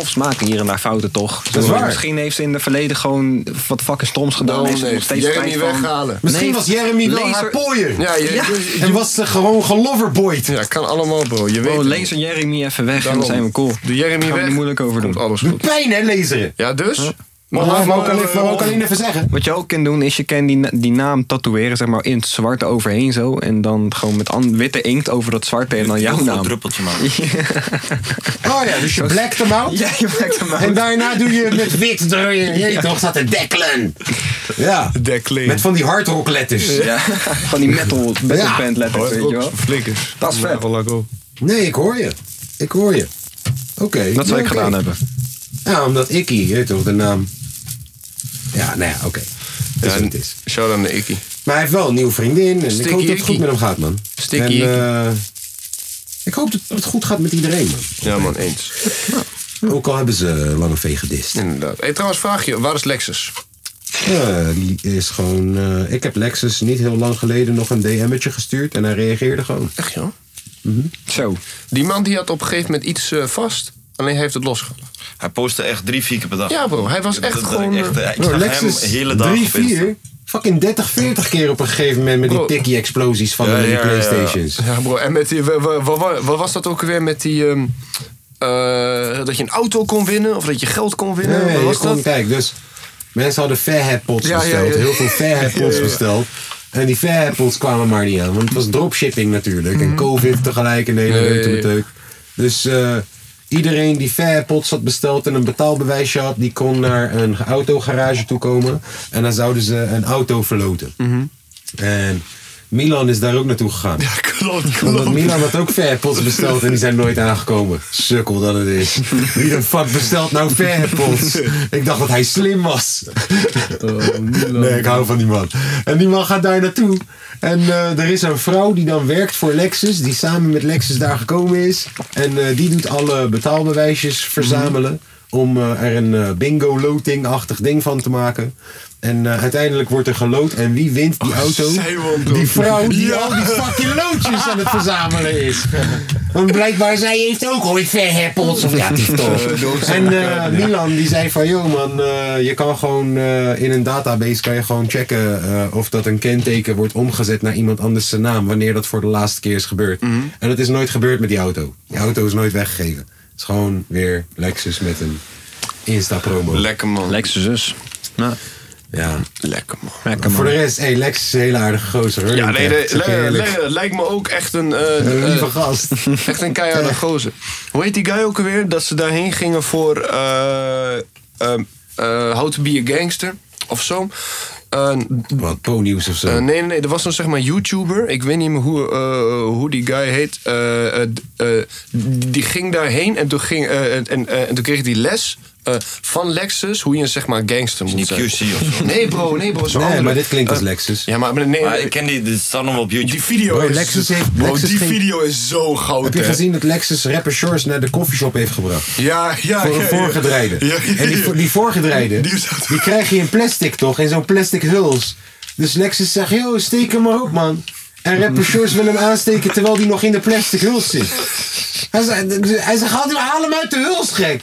S3: smaken hier en daar fouten toch?
S1: is waar.
S3: Misschien heeft ze in het verleden gewoon wat fucking stoms gedaan.
S2: Daarom
S3: Heeft ze nog
S2: heeft
S3: steeds
S2: Oh, Jeremy
S3: spijt van.
S2: weghalen.
S1: Misschien
S3: Nee,
S1: was Jeremy wel haar
S3: laser-
S1: pooier.
S2: Ja, je,
S3: Ja.
S2: je- je-
S1: En was ze gewoon geloverboyd.
S2: ja, kan allemaal, bro. Je weet
S3: Bro,
S2: het.
S3: Oh, lees een Jeremy even weg en
S2: Daarom.
S3: dan zijn we cool.
S2: Doe Jeremy
S3: Gaan we
S2: weg.
S3: er moeilijk over doen.
S2: Komt alles goed.
S1: Pijn hè, lezen.
S2: Ja, dus?
S1: Maar laat me ook alleen-
S2: eh,
S1: laat me ook alleen even zeggen.
S3: Wat je ook kunt doen is je kan die, na- die naam tatoeëren zeg maar in het zwart overheen zo. En dan gewoon met an- witte inkt over dat zwarte en dan
S4: Heel
S3: jouw
S4: goed
S3: naam.
S4: druppeltje, man.
S1: Oh ja, dus je blackt hem out.
S3: Ja, je maakt hem
S1: En
S3: uit.
S1: daarna doe je het met wit. Je weet toch, staat er Declan. Ja.
S2: Declan.
S1: Met van die hardrock letters.
S3: Ja, van die metal, metal
S1: Ja.
S3: band letters, weet je wel.
S2: Flikkers.
S3: Dat is vet.
S2: Wel leuk op.
S1: Nee, ik hoor je. Ik hoor je. Oké.
S3: Dat zou
S1: Ja,
S3: ik
S1: oké.
S3: gedaan hebben.
S1: Ja, omdat Ikkie, je weet toch, de naam. Ja, nou ja, oké. Dat is
S2: Ja,
S1: wat het is.
S2: Shout aan de Ikkie.
S1: Maar hij heeft wel een nieuwe vriendin. En ik
S2: Sticky
S1: hoop dat het
S2: Ikkie.
S1: goed met hem gaat, man.
S2: Sticky
S1: en,
S2: Ikkie.
S1: eh, ik hoop dat het goed gaat met iedereen, man.
S2: Ja man, eens.
S1: Ook al hebben ze eh, Lange V gedist.
S2: Inderdaad. Hey, trouwens, vraag je, waar is Lexus?
S1: Ja, die is gewoon... eh, ik heb Lexus niet heel lang geleden nog een DM'tje gestuurd. En hij reageerde gewoon.
S2: Echt joh?
S3: Zo.
S2: Die man die had op een gegeven moment iets eh, vast. Alleen hij heeft het losgelaten.
S4: Hij postte echt drie, vier keer per dag.
S2: Ja bro, hij was echt
S4: Dat- dat
S2: gewoon...
S4: ik echt,
S2: eh,
S4: eh, ik
S1: Bro,
S4: zag
S1: Lexus
S4: hem hele dag
S1: 3,
S4: op Insta.
S1: 4... Fucking 30, 40 keer op een gegeven moment met die
S2: Bro.
S1: tikkie-explosies van
S4: Ja,
S1: de die
S4: ja, ja, ja.
S1: Playstations.
S2: Ja, bro. En met die, wa- wa- wa- wa- wat was dat ook weer met die. ehm, eh, dat je een auto kon winnen of dat je geld kon winnen?
S1: Nee,
S2: wat
S1: je
S2: was
S1: kon-
S2: dat?
S1: kijk, dus mensen hadden Fairhead-pots
S2: Ja, ja,
S1: besteld.
S2: ja.
S1: Heel veel Fairhead-pots besteld. En die Fairhead-pots kwamen maar niet aan. Want het was dropshipping natuurlijk.
S2: Mhm.
S1: En COVID tegelijk en de hele
S2: Ja, ja,
S1: reuk en
S2: ja.
S1: de teuk. Dus eh, iedereen die Fairhead-pots had besteld en een betaalbewijsje had... die kon naar een autogarage toe komen. En dan zouden ze een auto verloten.
S2: Mhm.
S1: En Milan is daar ook naartoe gegaan.
S2: Klopt,
S1: Omdat Milan had ook verpots besteld en die zijn nooit aangekomen. Sukkel dat het is. Wie de fuck bestelt nou verpots? Ik dacht dat hij slim was. Nee, ik hou van die man. En die man gaat daar naartoe. En eh, er is een vrouw die dan werkt voor Lexus, die samen met Lexus daar gekomen is. En eh, die doet alle betaalbewijsjes verzamelen. Om eh, er een eh, bingo-loting-achtig ding van te maken. En eh, uiteindelijk wordt er geloot. En wie wint die auto?
S2: zeewond,
S1: Die
S2: joh.
S1: vrouw die al die fucking loodjes aan het verzamelen is. Want blijkbaar zij heeft ook ooit verheppels. Of ja, die toch. En eh, Milan die zei van, joh man, eh, je kan gewoon eh, in een database kan je gewoon checken eh, of dat een kenteken wordt omgezet naar iemand anders zijn naam. Wanneer dat voor de laatste keer is gebeurd. En dat is nooit gebeurd met die auto. Die auto is nooit weggegeven. Het is gewoon weer Lexus met een Insta-promo.
S2: Lekker man.
S3: Lexus dus. Nou,
S1: ja.
S2: Lekker man.
S3: lekker
S1: Voor de
S3: man.
S1: rest, hey, Lexus is een hele aardige gozer. hoor.
S2: Ja, nee,
S1: Ik
S2: nee,
S1: zeg je
S2: le-
S1: eerlijk.
S2: le- lijkt me ook echt een. eh,
S1: Een
S2: eh,
S1: lieve gast.
S2: echt een
S1: Eh.
S2: keiharde gozer. Hoe heet die guy ook alweer? Dat ze daarheen gingen voor. eh ehm, eh, How to be a gangster of zo. Eh,
S1: Wat, po-nieuws of zo.
S2: Eh, nee, nee, nee, er was zo'n zeg maar YouTuber. Ik weet niet meer hoe, eh, hoe die guy heet. Eh, eh, d- eh, die ging daarheen en toen, ging, eh, en, en, eh, en toen kreeg hij les eh, van Lexus hoe je een zeg maar gangster moet
S4: Niet
S2: zijn.
S4: QC of zo.
S2: Nee bro, nee bro, zo'n
S1: Nee,
S2: andere.
S1: maar dit klinkt als
S2: Eh,
S1: Lexus.
S2: Ja, maar maar nee,
S4: Maar ik ken die, dit staat nog wel op YouTube.
S2: die video
S1: Bro,
S2: is...
S1: Lexus heeft-
S2: bro,
S1: Lexus
S2: die
S1: ging-
S2: video is zo goud,
S1: Heb je
S2: hè.
S1: gezien dat Lexus rapper Shores naar de coffeeshop heeft gebracht?
S2: Ja, ja,
S1: Voor
S2: ja,
S1: een
S2: ja.
S1: voorgedreide.
S2: Ja, ja,
S1: En die,
S2: ja.
S1: vo- die voorgedreide,
S2: Die
S1: die,
S2: zat-
S1: krijg je in plastic toch? In zo'n plastic huls. Dus Lexus zegt, yo, steek hem maar op, man. En rapper Shores wil hem aansteken terwijl die nog in de plastic huls zit. Hij zegt, hij zegt haal, hem- haal hem uit de huls, gek.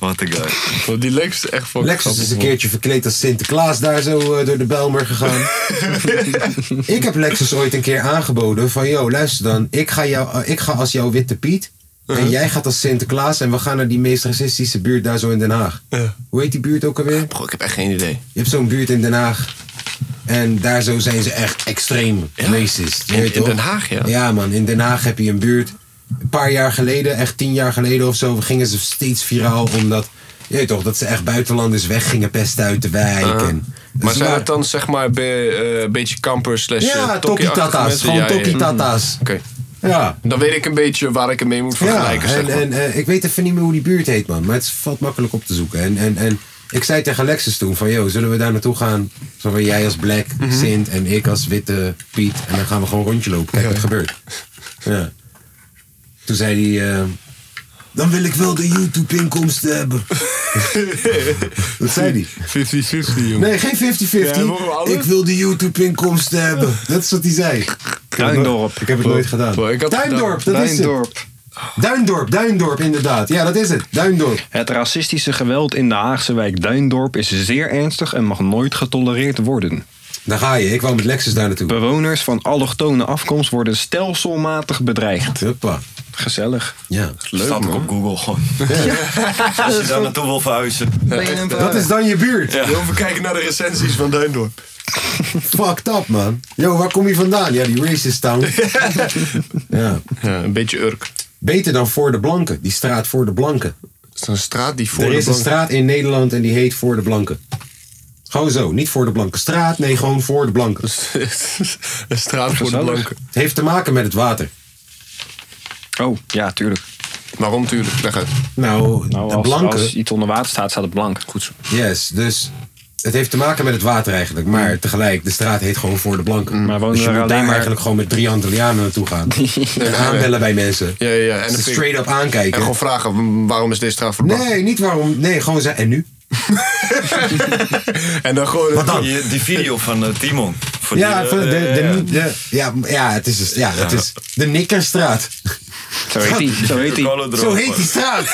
S4: Wat een guy.
S2: Bro, Die Lexus is echt fucking
S1: Lexus
S2: grappig,
S1: is een
S2: man.
S1: keertje verkleed als Sinterklaas daar zo eh, door de Bijlmer gegaan. ik heb Lexus ooit een keer aangeboden van... yo, luister dan, ik ga, jou, eh, ik ga als jouw Witte Piet...
S2: Uh-huh.
S1: en jij gaat als Sinterklaas... en we gaan naar die meest racistische buurt daar zo in Den Haag. Hoe heet die buurt ook alweer?
S2: Bro, ik heb echt geen idee.
S1: Je hebt zo'n buurt in Den Haag... En daar zo zijn ze echt extreem racist. je
S2: In-
S1: weet
S2: in
S1: toch?
S2: Den Haag, ja.
S1: Ja man, in Den Haag heb je een buurt. Een paar jaar geleden, echt tien jaar geleden of zo, gingen ze steeds viraal omdat... Je weet toch, dat ze echt buitenlanders weggingen pesten uit de wijk. en,
S2: Ah. Maar
S1: Ze
S2: zijn
S1: waren-
S2: het dan zeg maar be- eh, een beetje kampers slash eh,
S1: Ja,
S2: tokkie-achtige
S1: tokkie-tata's. Gewoon tokkie-tata's.
S2: mensen? Ja, Mm. ja, ja. Oké.
S1: Ja.
S2: Dan weet ik een beetje waar ik hem mee
S1: Ja,
S2: moet vergelijken. zeg
S1: en,
S2: maar.
S1: en eh, ik weet even niet meer hoe die buurt heet, man. Maar het valt makkelijk op te zoeken. En, en, en ik zei tegen Lexus toen van, yo, zullen we daar naartoe gaan? Zo van, jij als Black,
S2: Mhm.
S1: Sint en ik als Witte Piet. En dan gaan we gewoon rondje lopen. Kijk wat gebeurt. Ja. Toen zei hij, eh, dan wil ik wel de YouTube-inkomsten hebben. dat zei hij.
S2: 50-50, jongen.
S1: Nee, geen 50-50.
S2: Ja, mogen we alles?
S1: ik wil de YouTube-inkomsten hebben. Dat is wat hij zei.
S3: Tuindorp.
S1: Ik heb het nooit gedaan.
S2: Bro, ik had het
S1: Tuindorp, dat is het.
S3: Tuindorp.
S1: Duindorp, Duindorp, inderdaad. Ja, dat is het. Duindorp.
S3: Het racistische geweld in de Haagse wijk Duindorp is zeer ernstig en mag nooit getolereerd worden.
S1: Daar ga je. Ik wou met Lexus daar naartoe.
S3: Bewoners van allochtone afkomst worden stelselmatig bedreigd.
S1: Huppa.
S3: Gezellig.
S1: Ja.
S4: Leuk, staat ook op Google gewoon. Als je daar naartoe wil verhuizen.
S1: Dat is dan je buurt.
S2: Ja. Even kijken naar de recensies van Duindorp.
S1: Fucked up, man. Yo, waar kom je vandaan? Ja, die racist town. ja.
S2: Ja, een beetje Urk.
S1: Beter dan Voor de Blanken. Die straat Voor de Blanken.
S2: Het is een straat die voor
S1: er
S2: de
S1: is een
S2: bank-
S1: straat in Nederland en die heet Voor de Blanken. Gewoon zo. Niet Voor de Blanken straat. Nee, gewoon Voor de Blanken.
S2: een straat voor de
S3: Gezellig.
S2: blanken.
S1: Het heeft te maken met het water.
S3: Oh, ja, tuurlijk.
S2: Waarom tuurlijk? Leg uit.
S1: Nou,
S3: Nou,
S1: de
S3: als,
S1: blanke.
S3: als iets onder water staat, staat het blank. Goed zo.
S1: Yes, dus het heeft te maken met het water eigenlijk. Maar tegelijk, de straat heet gewoon voor de blanken.
S3: Maar wonen
S1: dus je
S3: er
S1: moet
S3: alleen
S1: daar
S3: maar-
S1: eigenlijk gewoon met drie Antillianen naartoe gaan. en aanbellen bij mensen.
S2: Ja, ja, ja. En, dan
S1: Ze
S2: vind ik-
S1: straight up
S2: en
S1: aankijken.
S2: gewoon vragen, "Mm, waarom is deze straat verbrand?
S1: Nee, niet waarom. Nee, gewoon zijn. En nu?
S2: En dan gewoon...
S1: Wat dan?
S4: Die, die video van eh, Timon. Voor
S1: Ja,
S4: die,
S1: van de,
S4: eh,
S1: de, de, ja, ja, het is, dus- ja, het is de Nikkerstraat.
S3: Zo heet hij. Zo heet hij.
S4: Cola
S1: Zo
S4: erop.
S1: heet die straat.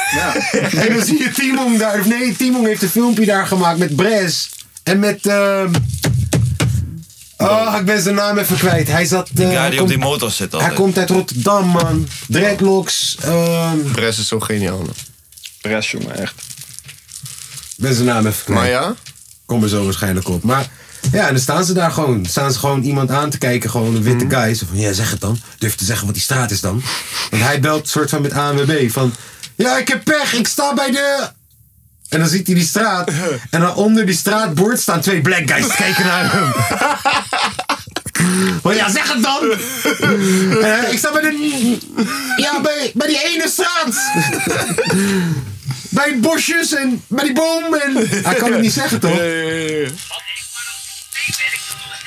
S1: En dan zie je Timon daar. of Nee, Timon heeft een filmpje daar gemaakt met Bres. En met... ehm, oh, ik ben zijn naam even kwijt. Hij zat... eh,
S4: Ja,
S1: hij
S4: die op
S1: komt-
S4: die motor zit
S1: Hij
S4: altijd.
S1: komt uit Rotterdam, man. Dreadlocks. ehm,
S2: Press is zo geniaal. man.
S3: Rest, jongen, echt.
S1: Ik ben zijn naam even kwijt.
S2: Maar ja,
S1: Kom er zo waarschijnlijk op. Maar ja, en dan staan ze daar gewoon. Staan ze gewoon iemand aan te kijken, gewoon een witte guy. Zo van, ja, zeg het dan. Durf te zeggen wat die straat is dan. Want hij belt soort van met ANWB van... Ja, ik heb pech, ik sta bij de... En dan ziet hij die straat. En dan onder die straatbord staan twee black guys te kijken naar hem. Maar ja, zeg het dan! Eh, ik sta bij de... Ja, bij, bij die ene straat! bij bosjes en bij die boom en... Hij kan het niet zeggen, toch?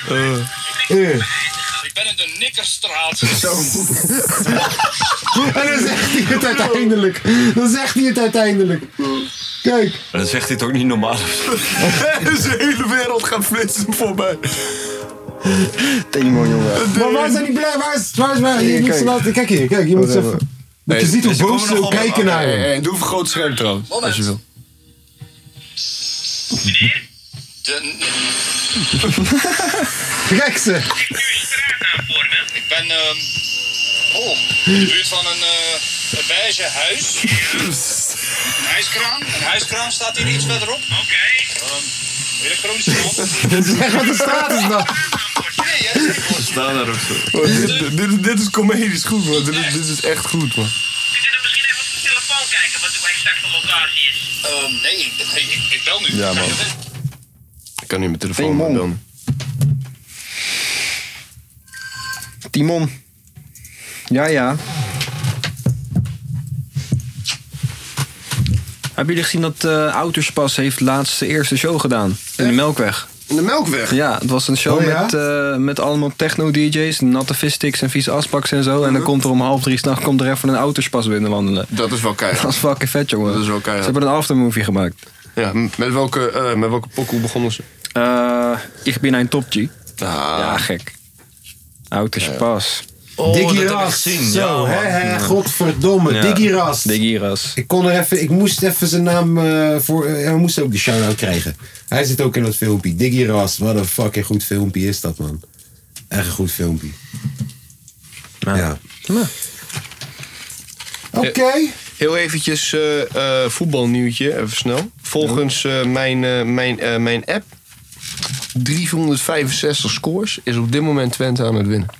S1: Eh.
S5: Ik ben in de Nikkerstraat.
S1: En dan zegt hij het uiteindelijk. Dan zegt hij het uiteindelijk. Kijk.
S4: En dan zegt hij het ook niet normaal.
S2: de hele wereld gaat flitsen voorbij.
S3: Timon, jongen.
S1: Maar waar zijn die blij? Waar is, waar is, waar? Je
S3: Hier,
S1: moet ze
S3: kijk.
S1: laten- Kijk hier, kijk. Je moet ze even... Want je
S2: Nee,
S1: ziet hoe
S4: ze
S1: boos
S4: komen
S1: ze
S4: nog allemaal-
S1: kijken naar
S2: Hey,
S1: hem.
S2: hey, eh, doe een groot scherm trouwens, als je wil.
S5: De,
S1: Kijk ze.
S5: ik nu een straatnaam voor me. Ik ben ehm, oh, in de buurt van een, eh een beige huis. Een huiskraan. Een huiskraan staat hier iets verderop. Ehm, Oké. Weer een chronische man.
S1: Zeg wat de straat is dan.
S5: Nee, hè? Ik word-
S4: Staan daar ook zo.
S2: dit, dit, dit is comedisch goed, man. Dit is, dit is echt goed, man.
S5: Kun je dan misschien even op de telefoon kijken wat uw exacte locatie is? Ehm, nee, ik- nee, ik, ik bel nu.
S2: Ja, man. Ik kan niet mijn telefoon
S3: Timon.
S2: doen.
S3: Timon. Ja, ja. Hebben jullie gezien dat eh Autospas heeft laatst de eerste show gedaan? In de Melkweg.
S2: In de Melkweg.
S3: Ja, het was een show
S1: Oh, ja?
S3: met, eh, met allemaal techno-dj's, natte fistics en vieze asbaks en zo. En dan komt er om half drie s'nachts komt er even een Autospas binnenwandelen.
S2: Dat is wel
S3: Dat
S2: keihard.
S3: is fucking vet, jongen.
S2: Dat is wel keihard.
S3: Ze hebben een aftermovie gemaakt.
S2: Ja, m- met welke, eh met welke pokoe begonnen ze?
S3: Eh ik ben een top G. Ja,
S2: Ah,
S3: gek. Autospas.
S4: Oh,
S1: Diggy
S4: dat heb ik
S1: Ras.
S4: gezien. Ja,
S1: Zo,
S4: man.
S1: hè, hè. Godverdomme.
S3: Ja.
S1: Diggy Ras.
S3: Digiras.
S1: Ik kon er even... Ik moest even zijn naam eh, voor... eh, we moesten ook de shout-out krijgen. Hij zit ook in dat filmpje. Diggy Ras. Wat een fucking goed filmpje is dat, man. Echt een goed filmpje. Ja.
S3: Nou.
S1: Oké.
S2: Heel eventjes eh, eh, voetbalnieuwtje, even snel. Volgens eh, mijn, eh, mijn, eh, mijn app, 365 scores is op dit moment Twente aan het winnen.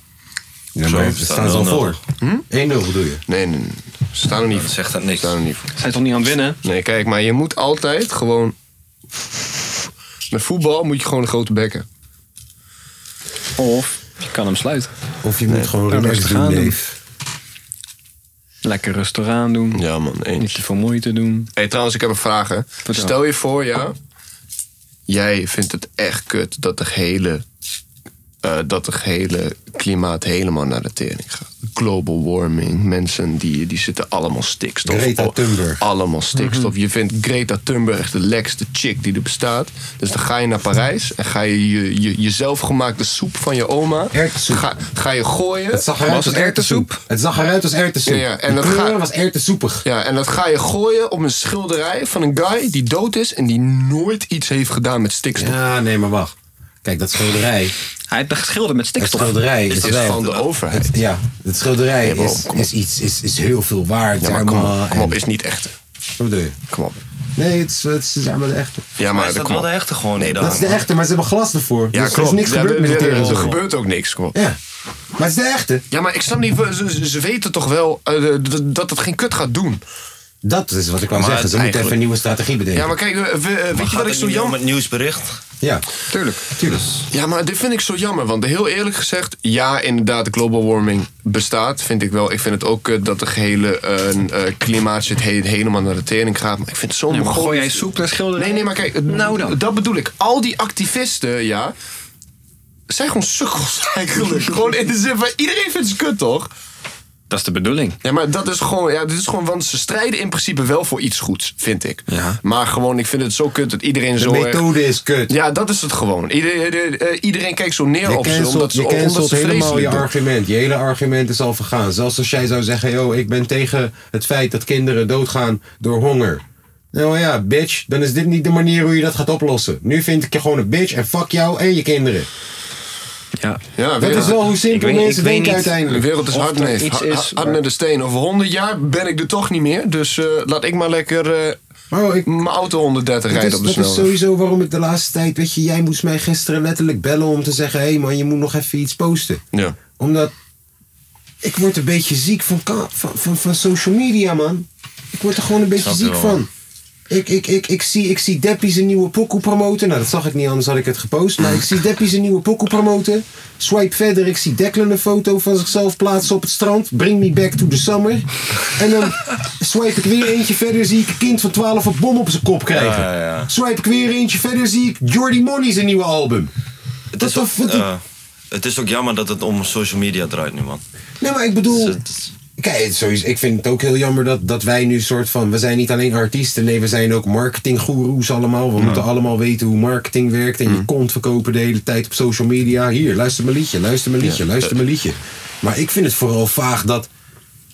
S1: Ja,
S4: Zo,
S1: maar
S4: we
S1: ze
S4: staan
S1: staan ze al
S4: wel
S1: voor. 1-0 bedoel je?
S2: Nee, nee, nee. Ze staan er niet
S4: Dat
S2: voor.
S4: zegt dat niks.
S2: Staan er niet voor.
S3: Zijn toch niet aan het winnen?
S2: Nee, kijk, maar je moet altijd gewoon... Met voetbal moet je gewoon een grote bekken.
S3: Of je kan hem sluiten.
S1: Of je moet gewoon
S3: nou,
S1: relaxed
S3: rustig
S1: doen,
S3: aan doen.
S1: Dave.
S3: Lekker rustig aan doen.
S2: Ja, man, eens.
S3: Niet te veel moeite doen.
S2: Hey, trouwens, ik heb een vraag. Hè.
S3: Vertel.
S2: Stel je voor, ja. Jij vindt het echt kut dat de hele, eh, dat de hele klimaat helemaal naar de tering gaat. Global warming, mensen die, die zitten allemaal stikstof.
S1: Greta
S2: Oh,
S1: Thunberg. Mhm.
S2: Allemaal stikstof. Je vindt Greta Thunberg de lekkerste chick die er bestaat. Dus dan ga je naar Parijs en ga je, je, je jezelf gemaakte soep van je oma...
S1: Erwtensoep.
S2: Ga, ga je gooien.
S1: Het zag eruit
S3: Was
S1: als
S3: het
S1: erwtensoep.
S3: erwtensoep?
S1: Het zag eruit als erwtensoep.
S2: Ja, ja, en
S1: de
S2: dat
S1: kleur
S2: ga-
S1: was erwtensoepig.
S2: Ja, en dat ga je gooien op een schilderij van een guy die dood is en die nooit iets heeft gedaan met stikstof.
S1: Ja, nee, maar wacht. Kijk, dat schilderij.
S3: Hij heeft geschilderd met
S1: Het
S3: stikstof.
S1: schilderij
S2: Is
S1: is,
S2: dat
S1: wel-
S2: van de overheid?
S1: het- Ja, het schilderij
S2: Nee, maar
S1: is,
S2: kom op.
S1: is iets, is, is heel veel waard.
S2: Ja, maar
S1: zeg
S2: kom
S1: maar,
S2: op, kom op,
S1: en-
S2: is niet echt.
S1: Wat bedoel je?
S2: Kom op.
S1: Nee, het is, het is zeg maar de echte.
S2: Ja,
S4: Maar
S2: maar
S4: is dat
S2: kom
S4: wel
S2: op.
S4: de echte gewoon niet
S1: Dat is de echte, maar ze hebben glas ervoor.
S2: Ja,
S1: dus er
S2: klopt.
S1: is niks
S2: Ja,
S1: gebeurd
S2: er-
S1: met die
S2: er-
S1: tering.
S2: Er gebeurt ook niks, kom op.
S1: Ja, maar het is de echte.
S2: Ja, maar ik snap niet, ze, ze- ze weten toch wel eh, dat- dat het geen kut gaat doen.
S1: Dat is wat ik wou
S4: Maar
S1: zeggen.
S4: het
S1: Ze moeten even
S4: eigenlijk-
S1: een nieuwe strategie bedenken.
S2: Ja, maar kijk, eh, we- eh, weet je
S4: Gaat
S2: wat ik
S4: het
S2: zo
S4: niet om
S2: jammer...
S4: het nieuwsbericht?
S1: Ja,
S3: Tuurlijk.
S1: tuurlijk.
S2: Ja, maar dit vind ik zo jammer. Want heel eerlijk gezegd, ja, inderdaad, de global warming bestaat. Vind ik wel. Ik vind het ook kut dat de gehele eh, eh, klimaat zit he- helemaal naar de tering gaat. Maar ik vind het zo
S3: Nee, maar
S2: mogol-
S3: gooi jij soep naar schilderen?
S2: Nee, nee, maar kijk,
S3: Nou dan.
S2: dat bedoel ik. Al die activisten, ja, zijn gewoon sukkels eigenlijk. gewoon in de zin van, iedereen vindt het kut, toch?
S3: Dat is de bedoeling.
S2: Ja, maar dat is gewoon, ja, dit is gewoon, want ze strijden in principe wel voor iets goeds, vind ik.
S3: Ja.
S2: Maar gewoon, ik vind het zo kut dat iedereen
S1: De
S2: zo... eh, erg-
S1: methode is kut.
S2: ja, dat is het gewoon. Ieder- ieder- eh, iedereen kijkt zo neer
S1: Je
S2: op ze, omdat
S1: cancelt,
S2: ze,
S1: je
S2: omdat
S1: cancelt
S2: ze
S1: helemaal je
S2: vreselijk doen.
S1: argument. Je hele argument is al vergaan. Zelfs als jij zou zeggen, yo, ik ben tegen het feit dat kinderen doodgaan door honger. Nou ja, bitch, dan is dit niet de manier hoe je dat gaat oplossen. Nu vind ik je gewoon een bitch en fuck jou en je kinderen.
S3: Ja.
S2: Ja,
S1: Dat is wel hoe simpel
S3: Ik weet-
S1: mensen
S3: ik weet
S1: denken
S3: niet.
S2: De
S1: uiteindelijk.
S2: wereld is
S3: Of
S2: hard,
S3: er
S2: neef.
S3: iets
S2: Ha-
S3: is
S2: ha- Hard
S3: waar-
S2: met de steen. Over 100 jaar ben ik er toch niet meer. Dus eh, laat ik maar lekker eh,
S1: Maar ik,
S2: mijn auto 130
S1: dat
S2: rijden
S1: is,
S2: op de
S1: dat is
S2: snelweg.
S1: sowieso waarom ik de laatste tijd, weet je, jij moest mij gisteren letterlijk bellen om te zeggen, hé hey man, je moet nog even iets posten.
S2: Ja.
S1: Omdat ik word een beetje ziek van, ka- van, van, van social media, man. Ik word er gewoon een beetje
S4: Snap je
S1: ziek
S4: wel,
S1: van.
S4: man.
S1: Ik, ik, ik, ik zie, ik zie Deppie zijn nieuwe pokoe promoten. Nou, dat zag ik niet, anders had ik het gepost. Maar ik zie Deppie zijn nieuwe pokoe promoten. Swipe verder, ik zie Declan een foto van zichzelf plaatsen op het strand. Bring me back to the summer. En dan swipe ik weer eentje verder, zie ik een kind van 12 een bom op zijn kop krijgen.
S4: Ja, ja, ja.
S1: Swipe ik weer eentje verder, zie ik Jordy Money zijn nieuwe album.
S4: Het
S1: Wat
S4: is,
S1: de
S4: ook,
S1: fuck-
S4: eh, het is ook jammer dat het om social media draait nu, man.
S1: Nee, maar ik bedoel...
S4: Dus het-
S1: Kijk, het- sowieso, ik vind het ook heel jammer dat, dat wij nu soort van... We zijn niet alleen artiesten, nee, we zijn ook marketinggoeroes allemaal. We moeten allemaal weten hoe marketing werkt. En je kont verkopen de hele tijd op social media. Hier, luister mijn liedje, luister mijn liedje, luister mijn liedje. Maar ik vind het vooral vaag dat...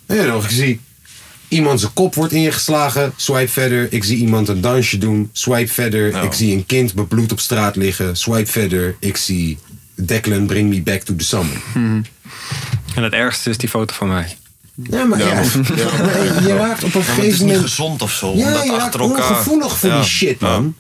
S1: Ja, nog, ik zie iemand zijn kop wordt ingeslagen. Swipe verder. Ik zie iemand een dansje doen. Swipe verder.
S4: Nou.
S1: Ik zie een kind bebloed op straat liggen. Swipe verder. Ik zie Declan Bring Me Back to the Summer.
S3: En het ergste is die foto van mij.
S1: Ja, maar, ja. maar je raakt op een
S4: Ja, maar het is
S1: gegeven
S4: niet
S1: moment...
S4: gezond of zo.
S1: Ja,
S4: omdat
S1: je raakt
S4: achter elkaar.
S1: ongevoelig voor
S4: Ja.
S1: die shit, man.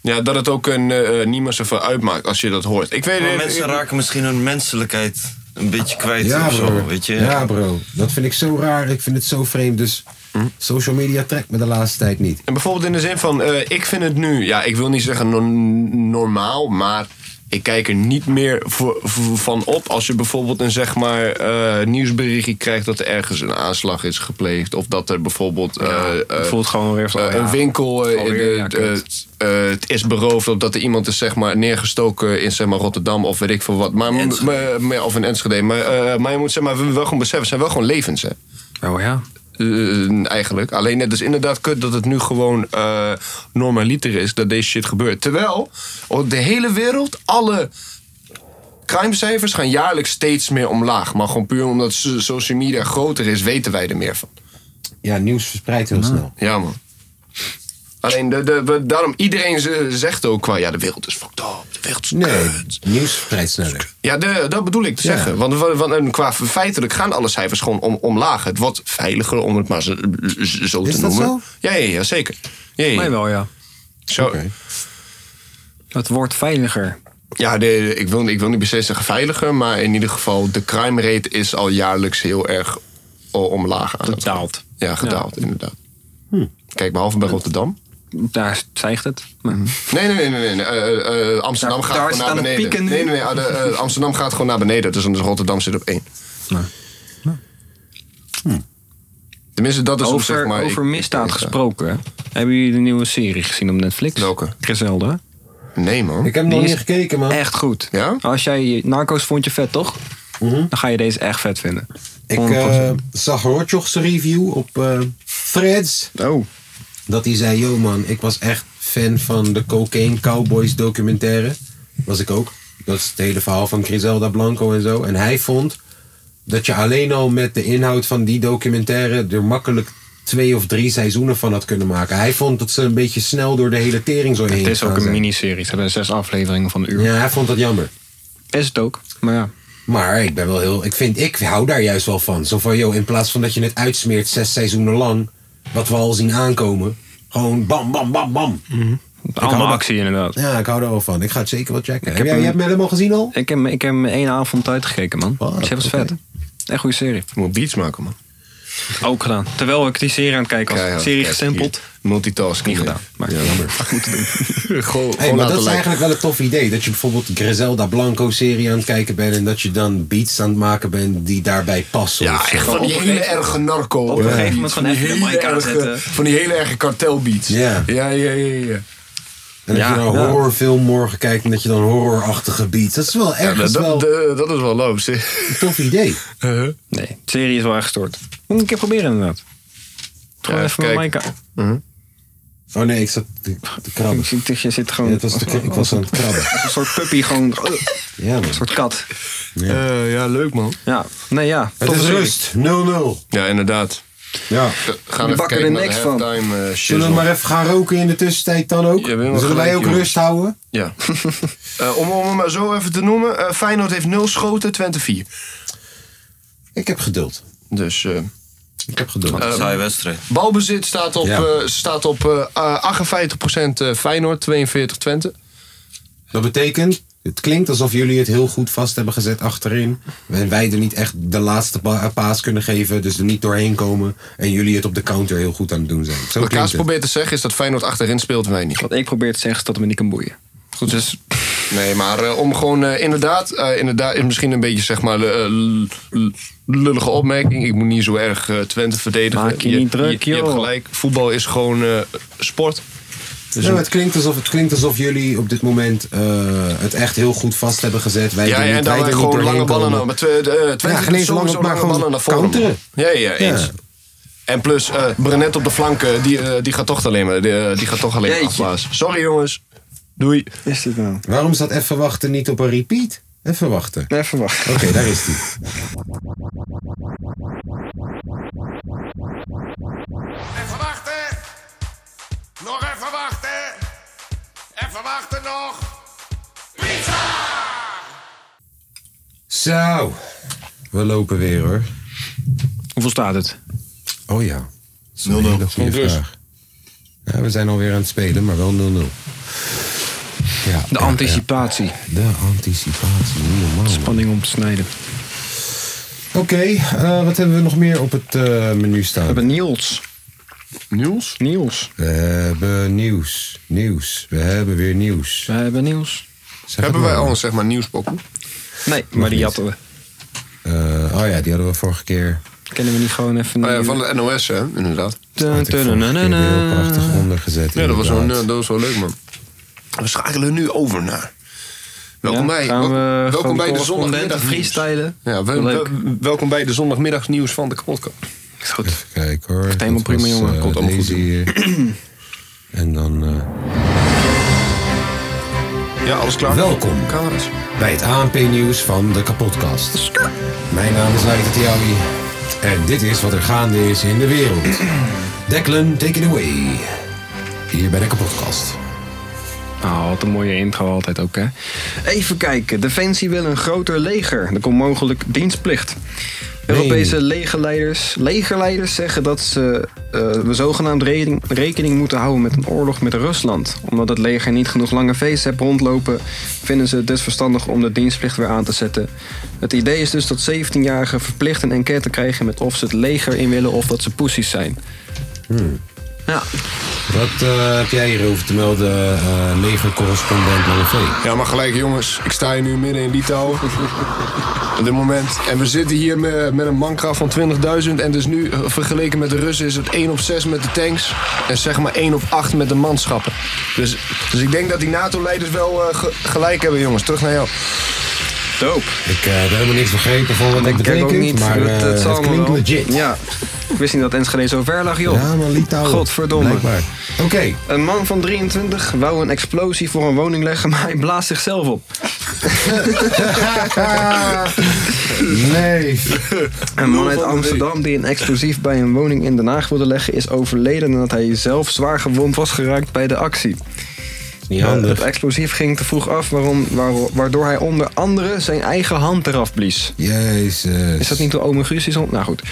S2: ja, dat het ook een, eh, eh, niet meer zoveel uitmaakt als je dat hoort. Ik weet
S4: Maar
S2: het.
S4: mensen raken misschien hun menselijkheid een beetje kwijt
S1: Ja,
S4: of zo,
S1: bro.
S4: weet je?
S1: Ja, bro. Dat vind ik zo raar. Ik vind het zo vreemd. Dus
S4: Hm?
S1: social media trekt me de laatste tijd niet.
S2: En bijvoorbeeld in de zin van, eh, ik vind het nu, ja, ik wil niet zeggen no- normaal, maar ik kijk er niet meer voor, voor- van op als je bijvoorbeeld een zeg maar eh, nieuwsberichtje krijgt dat er ergens een aanslag is gepleegd. Of dat er bijvoorbeeld eh, eh,
S3: het voelt gewoon weer van,
S2: eh,
S3: oh ja,
S2: een winkel eh,
S3: alweer,
S2: eh,
S3: ja,
S2: eh, eh, het is beroofd of dat er iemand is zeg maar, neergestoken in zeg maar, Rotterdam of weet ik veel wat. Maar, maar- maar- of in Enschede. Maar, eh, maar je moet zeg maar, wel gewoon beseffen, het zijn wel gewoon levens hè.
S3: Oh ja.
S2: Eh, eigenlijk. Alleen het is inderdaad kut dat het nu gewoon eh, normaliter is dat deze shit gebeurt. Terwijl op de hele wereld, alle crimecijfers gaan jaarlijks steeds meer omlaag. Maar gewoon puur omdat so- social media groter is, weten wij er meer van.
S1: Ja, nieuws verspreidt heel snel.
S2: Ja, man. Alleen, de, de, we- daarom iedereen ze- zegt ook qua, ja, de wereld is fucked up, de wereld is
S1: Nee,
S2: kut.
S1: nieuws verspreidt sneller.
S2: Ja, de, dat bedoel ik te
S1: Ja.
S2: zeggen. Want, wa- want en qua feitelijk gaan alle cijfers gewoon om, omlaag. Het wordt veiliger, om het maar zo, zo
S1: Is dat
S2: te noemen.
S1: zo?
S2: Ja, ja, ja, zeker. Ja, ja, ja.
S3: Mij wel, ja.
S2: Zo,
S1: Oké.
S3: Het wordt veiliger.
S2: ja de, de- ik, wil, ik wil niet per se zeggen veiliger, maar in ieder geval de crime rate is al jaarlijks heel erg o- omlaag aan het-
S3: Gedaald.
S2: Ja, gedaald, inderdaad.
S1: Hm.
S2: Kijk, behalve bij Rotterdam.
S3: Daar stijgt het. Maar-
S2: Nee, nee, nee, nee. nee. Eh, eh, Amsterdam
S3: Daar-
S2: gaat gewoon
S3: daar is
S2: naar
S3: het aan
S2: beneden.
S3: het pieken nu.
S2: Nee, nee, nee. ah, de, eh, Amsterdam gaat gewoon naar beneden. Dus dan is Rotterdam zit op één. Hm. Tenminste, dat is op
S3: Over,
S2: zeg maar. ik-
S3: over
S2: ik-
S3: misdaad
S2: ik-
S3: gesproken. Hebben jullie de nieuwe serie gezien op Netflix?
S2: Welke?
S3: Griselda.
S2: Nee, man.
S1: Ik heb nog
S3: Die is
S1: niet gekeken, man.
S3: Echt goed.
S2: Ja?
S3: Als jij Narcos vond je vet, toch? Dan ga je deze echt vet vinden.
S1: Ik
S3: 100%.
S1: eh, zag Rotjoch's review op eh, Threads.
S2: Oh.
S1: Dat hij zei, yo man, ik was echt fan van de Cocaine Cowboys documentaire. Was ik ook. Dat is het hele verhaal van Griselda Blanco en zo. En hij vond dat je alleen al met de inhoud van die documentaire er makkelijk twee of drie seizoenen van had kunnen maken. Hij vond dat ze een beetje snel door de hele tering zo heen
S3: Het is
S1: gaan
S3: ook een
S1: zijn.
S3: miniserie. Ze hebben zes afleveringen van een uur.
S1: Ja, hij vond dat jammer.
S3: Is het ook. Maar ja.
S1: Maar ik ben wel heel. Ik vind, ik hou daar juist wel van. Zo van, joh, in plaats van dat je het uitsmeert zes seizoenen lang, wat we al zien aankomen, gewoon bam, bam, bam, bam.
S3: Allemaal actie inderdaad.
S1: Ja, ik hou er wel van. Ik ga het zeker wel checken. Heb jij,
S3: heb hem-
S1: jij hebt hem helemaal gezien al?
S3: Ik heb, ik heb hem één avond uitgekeken, man.
S1: Oh,
S3: Ze was
S1: oké.
S3: vet. Echt goede serie.
S2: Ik moet beats maken, man.
S3: Ook gedaan. Terwijl ik die serie aan het kijken was.
S2: Keihard.
S3: serie
S2: Kijk,
S3: gestempeld.
S6: multitasking. Niet gedaan.
S3: Maar
S6: gewoon
S1: Hey,
S6: laten
S1: maar dat is
S6: lijken.
S1: eigenlijk wel een tof idee. Dat je bijvoorbeeld Griselda Blanco serie aan het kijken bent. En dat je dan beats aan het maken bent die daarbij passen.
S2: Ja,
S1: of zo.
S2: echt van die hele erge narco.
S3: Op een gegeven moment van even de mic aanzetten.
S2: Van die hele erge kartelbeats.
S1: Ja.
S2: Ja, ja, ja, ja.
S1: En dat
S3: Ja,
S1: je dan een
S3: ja.
S1: horrorfilm morgen kijkt en dat je dan horrorachtige beats. Dat is wel
S2: Ja,
S1: ergens
S2: dat,
S1: wel
S2: eh, dat is wel loop, zeg.
S1: een tof idee.
S3: Nee, de serie is wel erg gestoord. Moet ik een keer proberen inderdaad. Gewoon
S2: Ja,
S3: even mijn
S2: kijk.
S3: mic aan.
S1: Oh nee, ik zat te, te krabben.
S3: Ik zie- Je zit
S1: Ja,
S3: gewoon
S1: dat was te, ik was aan het krabben.
S3: een soort puppy, gewoon eh, een
S1: Ja, man.
S3: soort kat.
S6: Eh, ja, leuk man.
S3: Ja, nee ja.
S1: Het
S3: toffe
S1: is
S3: serie.
S1: rust. 0-0.
S6: Ja, inderdaad.
S1: Ja.
S2: Gaan
S3: Die bakken er
S2: naar de
S3: niks van.
S2: halftime, eh, shizzle.
S1: Zullen we maar even gaan roken in de tussentijd dan ook?
S6: Je bent wel
S1: Zullen wij
S6: gelijk,
S1: ook
S6: joh.
S1: rust houden?
S2: Ja. Eh, om, om hem maar zo even te noemen. eh, Feyenoord heeft 0 schoten, Twente 4.
S1: Ik heb geduld.
S2: Dus eh,
S1: Ik heb geduld.
S4: Wat een saaie wedstrijd.
S2: balbezit staat op,
S1: Ja.
S2: eh, staat op eh, 58% eh, Feyenoord, 42 Twente.
S1: Dat betekent, het klinkt alsof jullie het heel goed vast hebben gezet achterin. En wij er niet echt de laatste pa- paas kunnen geven. Dus er niet doorheen komen. En jullie het op de counter heel goed aan het doen zijn. Zo
S2: Wat
S1: klinkt
S2: Kaas
S1: het.
S2: probeert te zeggen is dat Feyenoord achterin speelt en wij niet.
S3: Wat ik probeer te zeggen is dat het me niet kan boeien.
S2: Goed. Dus, nee, maar eh, om gewoon eh, inderdaad, eh, inderdaad, is misschien een beetje zeg maar eh, l- l- lullige opmerking. Ik moet niet zo erg eh, Twente verdedigen.
S3: Maak je niet druk,
S2: je, je hebt
S3: joh.
S2: gelijk, voetbal is gewoon eh, sport.
S1: Ja, maar Nou, het, klinkt alsof, het klinkt alsof jullie op dit moment eh, het echt heel goed vast hebben gezet. Wij
S2: Ja,
S1: er
S2: ja, en
S1: niet,
S2: dan
S1: wij er niet
S2: gewoon
S1: doorheen
S2: lange ballen
S1: komen.
S2: naar. Maar Twe- eh, Twente
S1: Ja, geen
S2: doet
S1: eens
S2: sowieso
S1: lange, maar
S2: lange
S1: gewoon
S2: ballen naar voren.
S1: counteren.
S2: Ja, ja, eens. En plus, eh Brenet op de flank, eh, die, eh, die gaat toch alleen maar, die, eh, die gaat toch alleen maar
S3: Jeetje.
S2: afblazen. Sorry jongens. Doei.
S3: Is dit nou?
S1: Waarom staat even wachten niet op een repeat? Even wachten.
S3: Even wachten.
S1: Oké, daar is die.
S7: Even wachten. Nog even wachten. Even wachten nog.
S1: Zo. We lopen weer hoor.
S3: Hoeveel staat het?
S1: Oh ja. Dat is een hele goede vraag. Ja, we zijn alweer aan het spelen, maar wel 0-0. Ja,
S3: De
S1: ja,
S3: anticipatie.
S1: ja. De anticipatie, niet normaal. man.
S3: Spanning om te snijden.
S1: Oké, eh, wat hebben we nog meer op het eh, menu staan?
S3: We hebben Niels.
S6: Nieuws?
S3: Niels.
S1: We hebben nieuws. Nieuws. We hebben weer nieuws.
S3: We hebben Niels.
S1: Zeg het
S6: Hebben
S1: maar.
S6: wij al een zeg maar nieuwspokken?
S3: Nee, maar die jatten we.
S1: Eh, oh ja, die hadden we vorige keer.
S3: Kennen we niet gewoon even...
S6: Eh, van de NOS, hè? Inderdaad.
S3: Dun,
S1: had ik
S3: dun,
S1: vorige
S3: dun,
S1: keer
S3: dun,
S1: weer heel
S3: dun.
S1: prachtig ondergezet.
S6: Ja, dat was, wel,
S1: inderdaad.
S6: eh, dat was wel leuk, man. We schakelen nu over naar. Welkom bij,
S3: Gaan we
S6: welkom bij de
S3: zondagmiddag
S6: zondagmiddag
S3: freestylen.
S6: Ja, wel-
S3: Leuk.
S6: wel- welkom bij de zondagmiddagsnieuws van de podcast.
S3: Is goed.
S1: Kijk hoor. dat
S3: helemaal prima,
S1: was,
S3: jongen.
S1: eh,
S6: Komt allemaal
S1: deze
S6: goed.
S1: hier. En dan eh,
S6: Ja, alles klaar?
S1: Welkom.
S6: Camera's.
S1: bij het ANP-nieuws van de kapotkast. Mijn naam is Leiter Tiawi. En dit is wat er gaande is in de wereld. Declan, take it away. Hier bij de kapotkast.
S3: Nou, wat een mooie intro altijd ook, hè. Even kijken. Defensie wil een groter leger. Er komt mogelijk dienstplicht. Europese legerleiders, legerleiders zeggen dat ze, eh, we zogenaamd rekening, rekening moeten houden met een oorlog met Rusland. Omdat het leger niet genoeg lange feesten hebt rondlopen, vinden ze het dus verstandig om de dienstplicht weer aan te zetten. Het idee is dus dat 17-jarigen verplicht een enquête krijgen met of ze het leger in willen of dat ze poesies zijn. Ja,
S1: Wat eh, heb jij hierover te melden, eh legercorrespondent Lange V?
S2: Ja, maar gelijk jongens, ik sta hier nu midden in Litouw. Op dit moment. En we zitten hier met, met een mankracht van 20.000. En dus nu, eh, vergeleken met de Russen, is het 1 op 6 met de tanks. En zeg maar 1 op 8 met de manschappen. Dus, dus ik denk dat die NATO-leiders wel eh, ge- gelijk hebben, jongens. Terug naar jou.
S3: dope.
S1: Ik eh, heb helemaal niks begrepen van wat dat
S3: Ik heb
S1: betekent,
S3: ook niet,
S1: maar
S3: het,
S1: eh,
S3: het
S1: het,
S3: zal allemaal
S1: klinkt
S3: wel.
S1: legit.
S3: Ja, ik wist niet dat Enschede zo ver lag, joh.
S1: Ja, maar Litouwen.
S3: Godverdomme.
S1: Blijkbaar. Oké,
S3: Een man van 23 wou een explosie voor een woning leggen, maar hij blaast zichzelf op.
S1: Ah. nee.
S3: Een man uit Amsterdam die een explosief bij een woning in Den Haag wilde leggen, is overleden nadat hij zelf zwaar gewond was geraakt bij de actie.
S1: Niet
S3: Eh,
S1: handig.
S3: Het explosief ging te vroeg af, waarom, waar- waardoor hij onder andere zijn eigen hand eraf blies.
S1: Eh, Jezus.
S3: Is dat niet de ome Guus? die zon- Nou goed.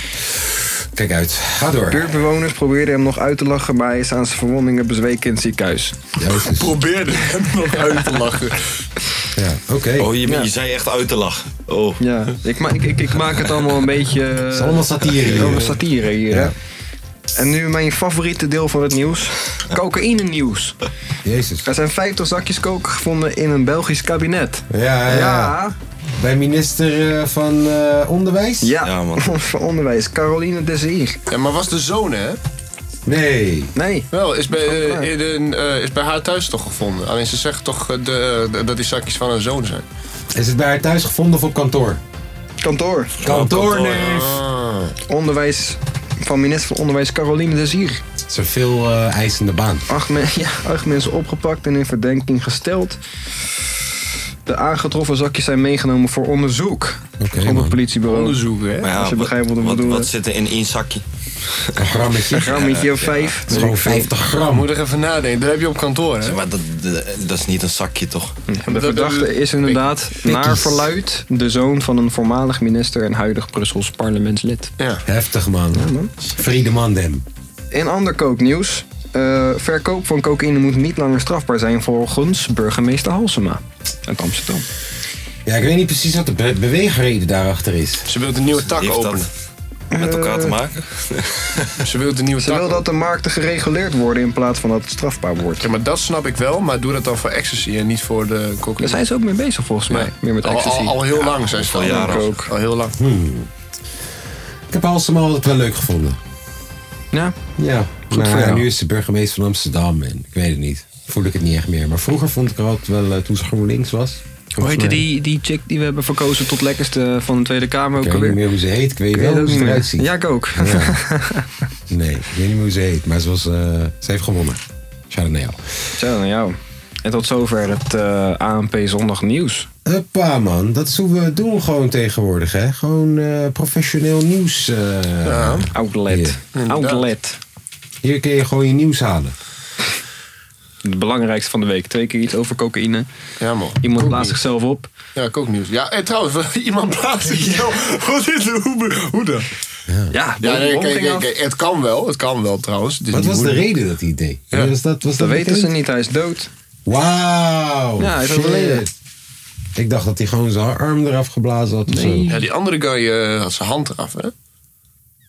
S1: Kijk uit. Ga door.
S3: Buurtbewoners probeerden hem nog uit te lachen, maar hij is aan zijn verwondingen bezweken in het ziekenhuis.
S1: Jezus.
S2: Probeerde hem nog uit te lachen.
S1: Ja, oké.
S4: Oh, je,
S3: Ja.
S4: je zei echt uit te lachen. Oh.
S3: Ja, ik, ma ik, ik, ik maak het allemaal een beetje...
S1: Het is allemaal satire hier. eh.
S3: Allemaal satire hier, hè? En nu mijn favoriete deel van het nieuws. Cocaïne nieuws.
S1: Jezus.
S3: Er zijn 50 zakjes coke gevonden in een Belgisch kabinet.
S1: Ja, ja. Bij minister eh, van eh, Onderwijs?
S3: Ja, van onderwijs. Caroline Desir.
S2: Ja, maar was de zoon, hè?
S1: Nee.
S3: Nee.
S2: Wel, is bij, eh,
S3: waar.
S2: in een, eh, is bij haar thuis toch gevonden. Alleen ze zegt toch eh, de, de- dat die zakjes van haar zoon zijn.
S1: Is het bij haar thuis gevonden of op kantoor?
S3: Kantoor.
S1: Kantoorneef!
S3: Onderwijs van minister van Onderwijs Caroline Desir.
S1: Het is een veel eh, eisende baan.
S3: Acht, men- ja, acht mensen opgepakt en in verdenking gesteld. De aangetroffen zakjes zijn meegenomen voor onderzoek.
S1: Oké,
S3: op het
S1: man.
S3: politiebureau.
S2: Onderzoek, hè?
S4: Maar ja,
S3: Als je begrijpt wat ik
S4: wat,
S3: bedoel,
S4: wat
S3: hè?
S4: zit er in één zakje?
S1: Een grammetje.
S3: Een
S1: Het
S3: grammetje of vijf.
S1: is gewoon 50
S2: Ik
S1: gram.
S2: moet er even nadenken. Dat heb je op kantoor, hè?
S4: Zeg maar, dat, dat, dat is niet een zakje, toch?
S3: De verdachte is inderdaad, naar verluid, de zoon van een voormalig minister en huidig Brussels parlementslid.
S2: Ja.
S1: Heftig, man. Friedeman dem.
S3: In ander kooknieuws. eh, verkoop van cocaïne moet niet langer strafbaar zijn volgens burgemeester Halsema uit Amsterdam.
S1: Ja, ik weet niet precies wat de be- beweegreden daarachter is.
S2: Ze wil een nieuwe tak
S4: Heeft
S2: openen.
S4: dat met elkaar te maken?
S2: Ze wil een nieuwe
S3: Ze
S2: tak
S3: wil
S2: openen.
S3: dat de markten gereguleerd worden in plaats van dat het strafbaar wordt.
S2: Ja, maar dat snap ik wel, maar doe dat dan voor ecstasy en niet voor de
S3: Daar
S2: cocaïne.
S3: zijn ze ook mee bezig volgens mij. Meer met
S2: Al-
S3: ecstasy.
S2: Al, al heel lang zijn ze
S4: al jaren.
S2: ook. Al heel lang.
S1: Ik heb Halsema altijd wel leuk gevonden.
S3: Ja,
S1: Ja,
S3: Goed
S1: maar
S3: voor jou.
S1: nu is ze burgemeester van Amsterdam en ik weet het niet. Voel ik het niet echt meer. Maar vroeger vond ik haar altijd wel, eh, toen ze GroenLinks was.
S3: hoe heette
S1: volgens mij.
S3: die, die chick die we hebben verkozen tot lekkerste van de Tweede Kamer ook
S1: Ik weet niet
S3: alweer?
S1: meer hoe ze heet. Ik weet
S3: Ik
S1: wel
S3: weet
S1: hoe
S3: ook
S1: ze
S3: niet
S1: eruit
S3: meer.
S1: ziet.
S3: Ja, ik ook.
S1: Ja. Nee, ik weet niet meer hoe ze heet. Maar ze, was, eh, ze heeft gewonnen. Shout-out naar jou.
S3: Zo, nou ja. En tot zover het eh, ANP Zondag Nieuws.
S1: Huppa man, dat is hoe we het doen gewoon tegenwoordig. Hè? Gewoon eh, professioneel nieuws. eh.
S3: Outlet. Outlet.
S1: Hier kun je gewoon je nieuws halen.
S3: Het belangrijkste van de week. Twee keer iets over cocaïne.
S2: Ja, man.
S3: Iemand blaast
S2: Coke
S3: zichzelf op.
S2: nieuws. Ja, kooknieuws. Ja, en trouwens, iemand blaast zichzelf. Wat is er? Hoe, be- hoe dan?
S3: Ja,
S2: Ja, nee,
S3: bom
S2: kijk,
S3: ging
S2: kijk,
S3: af.
S2: kijk, het kan wel. Het kan wel, trouwens. Het is
S1: Wat
S2: niet
S1: was de
S2: moeilijk.
S1: reden dat hij het deed? Was dat, was
S3: Dat weten ze
S1: bekend?
S3: niet, hij is dood.
S1: Wauw.
S3: Ja, hij is
S1: shit.
S3: overleden.
S1: Ik dacht dat hij gewoon zijn arm eraf geblazen had. of zo.
S2: Ja, die andere guy eh, had zijn hand eraf, hè?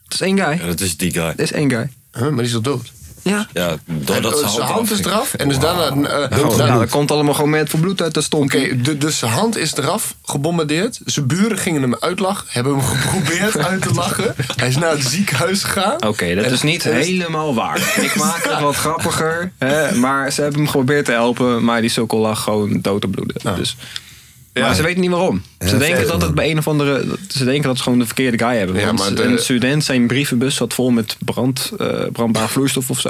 S3: Het is één guy.
S4: Ja, dat is die guy.
S3: Het is één guy.
S2: Huh, maar die is al dood.
S3: Ja.
S4: Ja, doordat
S2: Eh,
S4: ze
S2: zijn hand is
S4: ging.
S2: eraf en dus daarna... eh,
S3: Oh,
S2: daarna-
S3: nou, dat komt allemaal gewoon met voor bloed uit de stomp.
S2: Oké, du- dus zijn hand is eraf, gebombardeerd. Zijn buren gingen hem uitlachen, hebben hem geprobeerd uit te lachen. Hij is naar het ziekenhuis gegaan.
S3: Oké, dat
S2: En-
S3: is niet
S2: en-
S3: helemaal waar. Ik maak het wat grappiger. Hè, maar ze hebben hem geprobeerd te helpen, maar die sokkel lag gewoon dood te bloeden. Dus. Maar ze weten niet waarom. Ze
S1: dat
S3: denken
S1: is
S3: dat het bij een of andere. dat- Ze denken dat ze gewoon de verkeerde guy hebben.
S2: Ja,
S3: want
S2: maar de-
S3: een student, zijn brievenbus zat vol met brand, eh, brandbaar vloeistof of zo.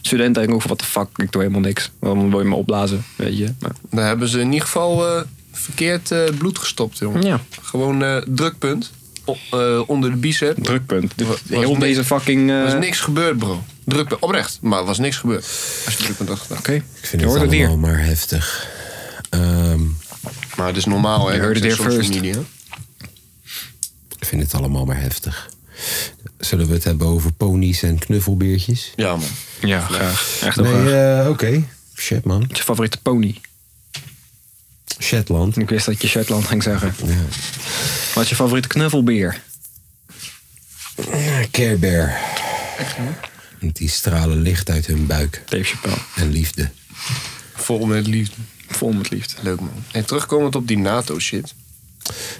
S3: Student denkt ook: van, wat de fuck, ik doe helemaal niks. Waarom wil je me opblazen? Weet je. Maar,
S2: Daar hebben ze in ieder geval eh, verkeerd eh, bloed gestopt, jongen.
S3: Ja.
S2: Gewoon eh, drukpunt o- eh, onder de bicep.
S3: drukpunt.
S2: Was-
S3: Heel
S2: was
S3: deze
S2: niks-
S3: fucking. eh,
S2: Er was niks gebeurd, bro. Drukpunt, oprecht. Maar was niks gebeurd. Als je drukpunt had gedaan.
S3: Oké,
S1: Ik vind
S3: je
S1: het
S3: hoort het
S1: allemaal
S3: hier.
S1: maar heftig. Ehm,
S2: Maar het is normaal, hè.
S3: You heard it
S2: dat
S3: here
S2: zijn
S3: first.
S2: social media.
S1: ik vind het allemaal maar heftig. Zullen we het hebben over ponies en knuffelbeertjes?
S4: Ja, man.
S3: Ja, graag. Echt heel
S1: Nee,
S3: graag.
S1: eh, oké. Shit man.
S3: Je favoriete pony.
S1: Shetland.
S3: Ik wist dat je Shetland ging zeggen. Wat is je favoriete knuffelbeer?
S1: Care Bear. Want die stralen licht uit hun buik
S3: Dave Chappelle.
S1: en liefde.
S2: Vol met liefde.
S3: Vol met liefde.
S2: Leuk, man. En terugkomend op die NATO-shit.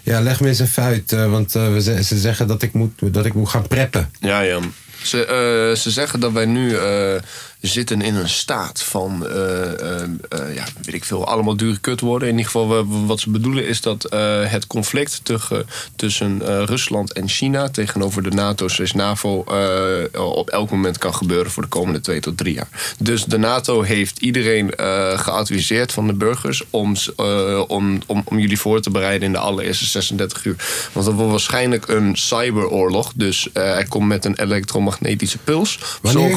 S1: Ja, leg me eens even uit, eh, want eh, we ze, ze zeggen dat ik, moet, dat ik moet gaan preppen.
S2: Ja, ja. Ze, eh, ze zeggen dat wij nu eh, zitten in een staat van, eh, eh, eh, ja, weet ik veel, allemaal dure kutwoorden. In ieder geval, wa- wat ze bedoelen is dat eh, het conflict tussen, tussen eh, Rusland en China tegenover de NATO, slash NAVO, eh, op elk moment kan gebeuren voor de komende twee tot drie jaar. Dus de NATO heeft iedereen eh, geadviseerd van de burgers om, s- eh, om, om, om jullie voor te bereiden in de allereerste 36 uur. Want dat wordt waarschijnlijk een cyberoorlog. Dus eh, hij komt met een elektromagnetische puls.
S1: Wanneer?
S2: Zo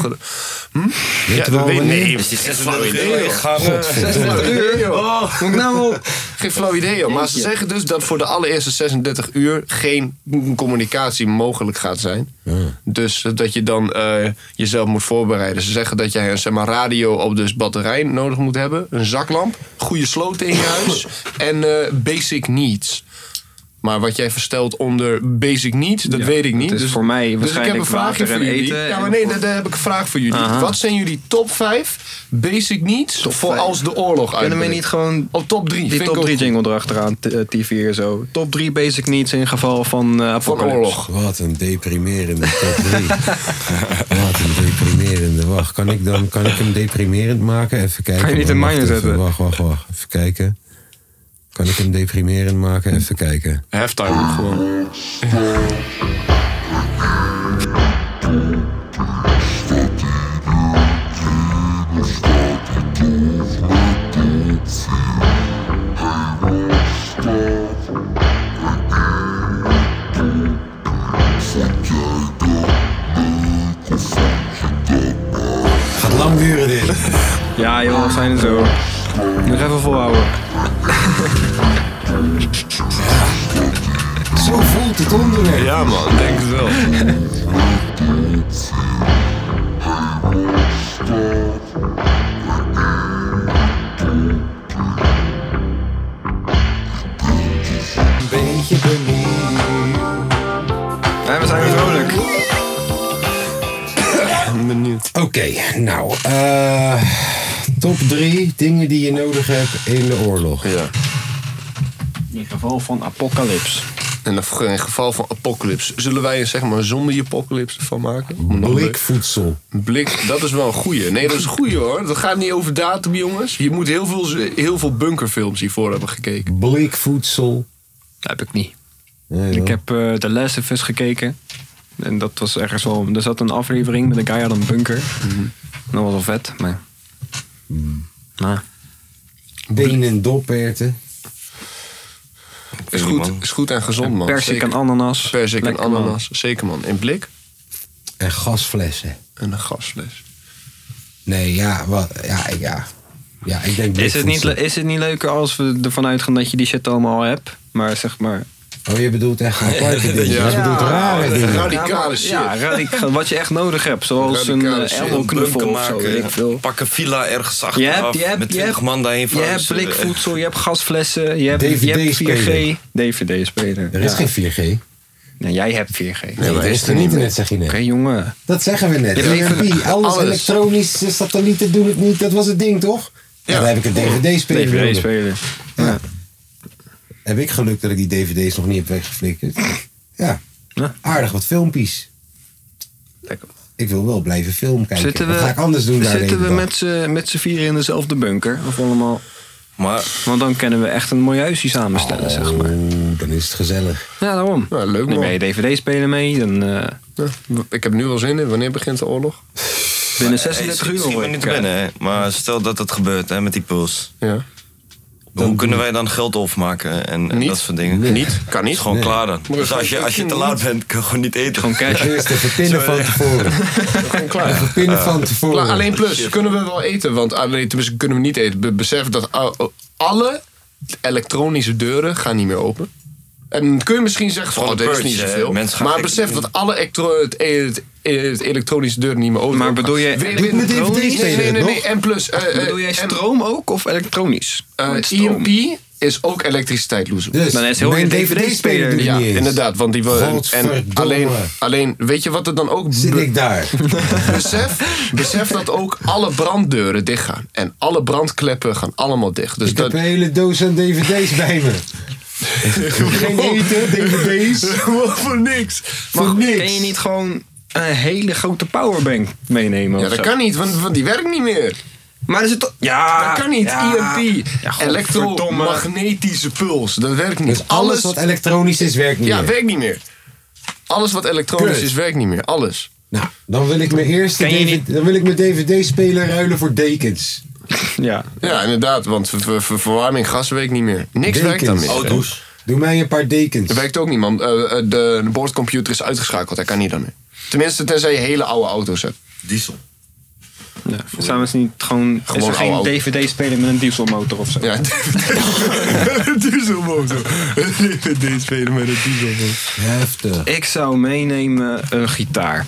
S2: ge-
S1: Weet
S2: Ja,
S1: je wel
S2: dat weet-
S1: wanneer?
S2: nee,
S4: Is die 36 uur?
S2: flauw idee, joh.
S3: Moet ik nou op?
S2: Geen flauw idee, joh. Maar ze zeggen dus dat voor de allereerste 36 uur geen communicatie mogelijk gaat zijn. Dus dat je dan eh, jezelf moet voorbereiden. Ze zeggen dat jij een zeg maar, radio op dus batterij nodig moet hebben, een zaklamp, goede sloten in je huis en eh, basic needs. Maar wat jij verstelt onder basic niet, dat
S3: Ja,
S2: weet ik
S3: dat
S2: niet.
S3: is
S2: dus,
S3: voor mij
S2: dus
S3: waarschijnlijk
S2: ik heb een vraagje
S3: water en
S2: voor jullie.
S3: eten
S2: Ja, maar
S3: en-
S2: nee, daar, daar heb ik een vraag voor jullie.
S3: Aha.
S2: Wat zijn jullie top 5 basic needs voor
S3: vijf.
S2: als de oorlog uitbreekt?
S3: Kunnen we niet gewoon
S2: Op Oh, top 3.
S3: die top 3 jingle erachteraan t- eh, TV en zo? Top 3 basic needs in geval van eh
S2: Voor
S3: apocalypse.
S2: oorlog.
S1: Wat een deprimerende top 3. Wat een deprimerende. Wacht, kan ik, dan, kan ik hem deprimerend maken? Even kijken.
S3: Kan je niet
S1: hoor.
S3: in
S1: Wacht
S3: minor
S1: even,
S3: zetten?
S1: Wacht, wacht, wacht. Even kijken. Kan ik hem deprimerend maken? Even kijken.
S8: Halftime gewoon.
S1: Gaat lang duren dit.
S3: Ja joh, we zijn er zo. Nog even volhouden.
S1: Zo voelt het onderwerp.
S8: Ja man, ik denk het wel.
S1: Een beetje benieuwd.
S3: En we zijn weer vrolijk.
S1: Oké, nou. eh, top 3 dingen die je nodig hebt in de oorlog.
S2: Ja.
S3: In geval van apocalypse.
S2: En dan voor- in het geval van apocalypse, zullen wij er zeg maar zombie apocalypse van maken? Om het nog leuk-
S1: Blikvoedsel.
S2: Blik, dat is wel een goeie. Nee, dat is een goeie hoor. Dat gaat niet over datum, jongens. Je moet heel veel, heel veel bunkerfilms hiervoor hebben gekeken.
S1: Blikvoedsel.
S3: Dat heb ik niet.
S1: Nee,
S3: Ik
S1: hoor.
S3: heb eh The Last of Us gekeken. En dat was ergens wel... Er zat een aflevering met een guy uit een bunker.
S2: Mhm.
S3: Dat was wel vet, maar... Nou,
S1: Benen en doperten.
S2: Is
S4: niet,
S2: goed,
S4: man.
S2: is goed en gezond, man.
S3: persik
S2: Zeker.
S3: en ananas.
S2: Persik en
S3: Lekker, man.
S2: ananas. Zeker, man. In blik
S1: En gasflessen.
S2: en een gasfles.
S1: Nee, ja, wat, ja, ja. Ja, ik denk
S3: Is het, niet, le-
S1: blikvoedsel.
S3: is het niet leuker als we ervan uitgaan dat je die shit allemaal al hebt? Maar zeg maar...
S1: Oh, je bedoelt echt aparte dingen.
S2: Ja.
S1: Je bedoelt rare dingen.
S2: Radicale shit.
S3: Ja, radica- wat je echt nodig hebt. Zoals
S2: Radicale
S3: een
S2: shit.
S3: eh, elloknuffel of zo.
S4: maken,
S3: weet ik veel.
S4: pak een villa ergens
S3: Je
S4: achteraf.
S3: hebt, je hebt,
S4: met
S3: je hebt,
S4: 20 man daarheen Eh,
S3: je hebt
S4: verhuizen.
S3: blikvoedsel, je hebt gasflessen, je hebt, je hebt 4G.
S1: DVD-speler.
S3: DVD-speler.
S1: Er is geen 4G.
S3: Nee, Nou, jij hebt 4G. Oké,
S1: Nee, er is er
S2: niet
S1: niet net, zeg je net.
S3: jongen.
S1: Dat zeggen we net.
S3: Je hebt
S1: EMP,
S3: even-
S1: alles,
S2: alles.
S1: elektronisch, satellieten doen het niet. Dat was het ding, toch? Ja. dan heb ik een
S3: Oh,
S1: DVD-speler. nodig.
S3: DVD-speler. Ja.
S1: Heb ik geluk dat ik die DVD's nog niet heb weggeflikkerd. Ja.
S3: Ja.
S1: Aardig wat filmpjes.
S3: Lekker.
S1: Ik wil wel blijven film kijken.
S3: Zitten we,
S1: Wat ga ik anders doen daar de
S3: zitten
S1: hele
S3: we
S1: dag?
S3: met z'n met z'n vieren in dezelfde bunker? Of allemaal?
S4: Maar
S3: Want dan kunnen we echt een mooi huisje samenstellen, zeg maar.
S1: Oeh, Oh, dan is het gezellig.
S3: Ja, daarom.
S2: Oh. Ja, leuk,
S3: Neem
S2: man.
S3: je DVD-speler mee, dan eh,
S2: Ja, Ik heb nu wel zin in. Wanneer begint de oorlog?
S3: binnen
S4: hey,
S3: 36 uur
S4: schiet me
S3: hoor
S4: niet
S3: ik,
S4: te
S3: eh,
S4: binnen, hè. Maar stel dat het gebeurt, hè, met die puls.
S2: Ja.
S4: Hoe kunnen wij dan geld overmaken en, en
S2: Niet.
S4: dat soort dingen?
S2: Niet? Kan
S4: Is
S2: niet.
S4: gewoon klaar dan.
S2: Maar
S4: Dus als je, als je te laat bent, kun je gewoon niet eten.
S3: Gewoon cash.
S1: Eerst even pinnen van tevoren.
S2: Gewoon klaar.
S3: Eh,
S1: Pinnen van
S2: Maar
S4: Oh,
S1: tevoren.
S2: alleen plus, kunnen we wel eten? Want alleen, tenminste, kunnen we niet eten. Be- Besef dat a- alle elektronische deuren gaan niet meer open. En dan kun je misschien zeggen van,
S4: Van
S2: oh,
S4: de
S2: dat is
S4: purge,
S2: niet
S4: hè.
S2: zoveel.
S4: Mensen gaan
S2: Maar
S4: gek-
S2: besef dat alle elektro- het, e- het- het elektronische deuren niet meer open
S3: Maar bedoel je-
S2: Weer-
S3: Doet
S2: weer- nee,
S3: mijn DVD
S2: nee, nee,
S1: spelen
S2: nee,
S1: het
S2: nee.
S1: nog?
S2: En plus, eh, eh,
S3: Bedoel jij
S2: en,
S3: stroom ook of elektronisch?
S2: eh,
S3: Met stroom.
S2: EMP is ook elektriciteit, loser.
S1: Dus,
S3: Dan is heel
S1: mijn
S3: je DVD-speler
S1: DVD-speler doet
S2: ja,
S1: niet eens.
S2: inderdaad, want die wil. En
S1: Godverdomme.
S2: alleen, alleen, weet je wat er dan ook
S1: Zit
S2: be-
S1: ik daar.
S3: Dus
S2: Besef, besef dat ook alle branddeuren dichtgaan. En alle brandkleppen gaan allemaal dicht. Dus
S1: Ik heb
S2: dat,
S1: een hele doos aan dvd's bij me. Geen eten, dvd's.
S2: voor niks.
S1: Voor niks.
S3: Kun je niet gewoon een hele grote powerbank meenemen?
S2: Ja,
S3: of
S2: dat
S3: zo?
S2: kan niet, want, want die werkt niet meer.
S3: Maar is het toch... Ja,
S2: Dat kan niet.
S3: Ah, ja.
S2: EMP,
S3: Ja, godverdomme.
S2: elektromagnetische puls, dat werkt niet.
S1: Dus alles wat elektronisch is, werkt niet
S2: ja,
S1: meer.
S2: werkt niet meer. Alles wat elektronisch
S1: Kut.
S2: is, werkt niet meer. Alles.
S1: Nou, dan wil ik mijn eerste
S3: Ken je
S1: DVD dan wil ik mijn dvd-speler ruilen voor dekens.
S3: Ja.
S2: Ja, inderdaad, want ver- ver- ver- verwarming, gas werkt niet meer. Niks
S1: Dekens.
S2: werkt dan meer.
S1: Oh,
S2: dat
S1: Doe mij een paar dekens.
S2: werkt ook niet, man. Eh, eh, de, de boordcomputer is uitgeschakeld, hij kan niet dan meer. Tenminste, tenzij je hele oude auto's hebt.
S4: Diesel.
S3: ja. Samen is niet gewoon...
S2: Gewoon
S3: is er geen
S2: oude-
S3: DVD-speler met een dieselmotor of zo?
S2: Ja, dieselmotor. Deze spelen met een dieselmotor.
S1: Heftig.
S3: Ik zou meenemen een gitaar.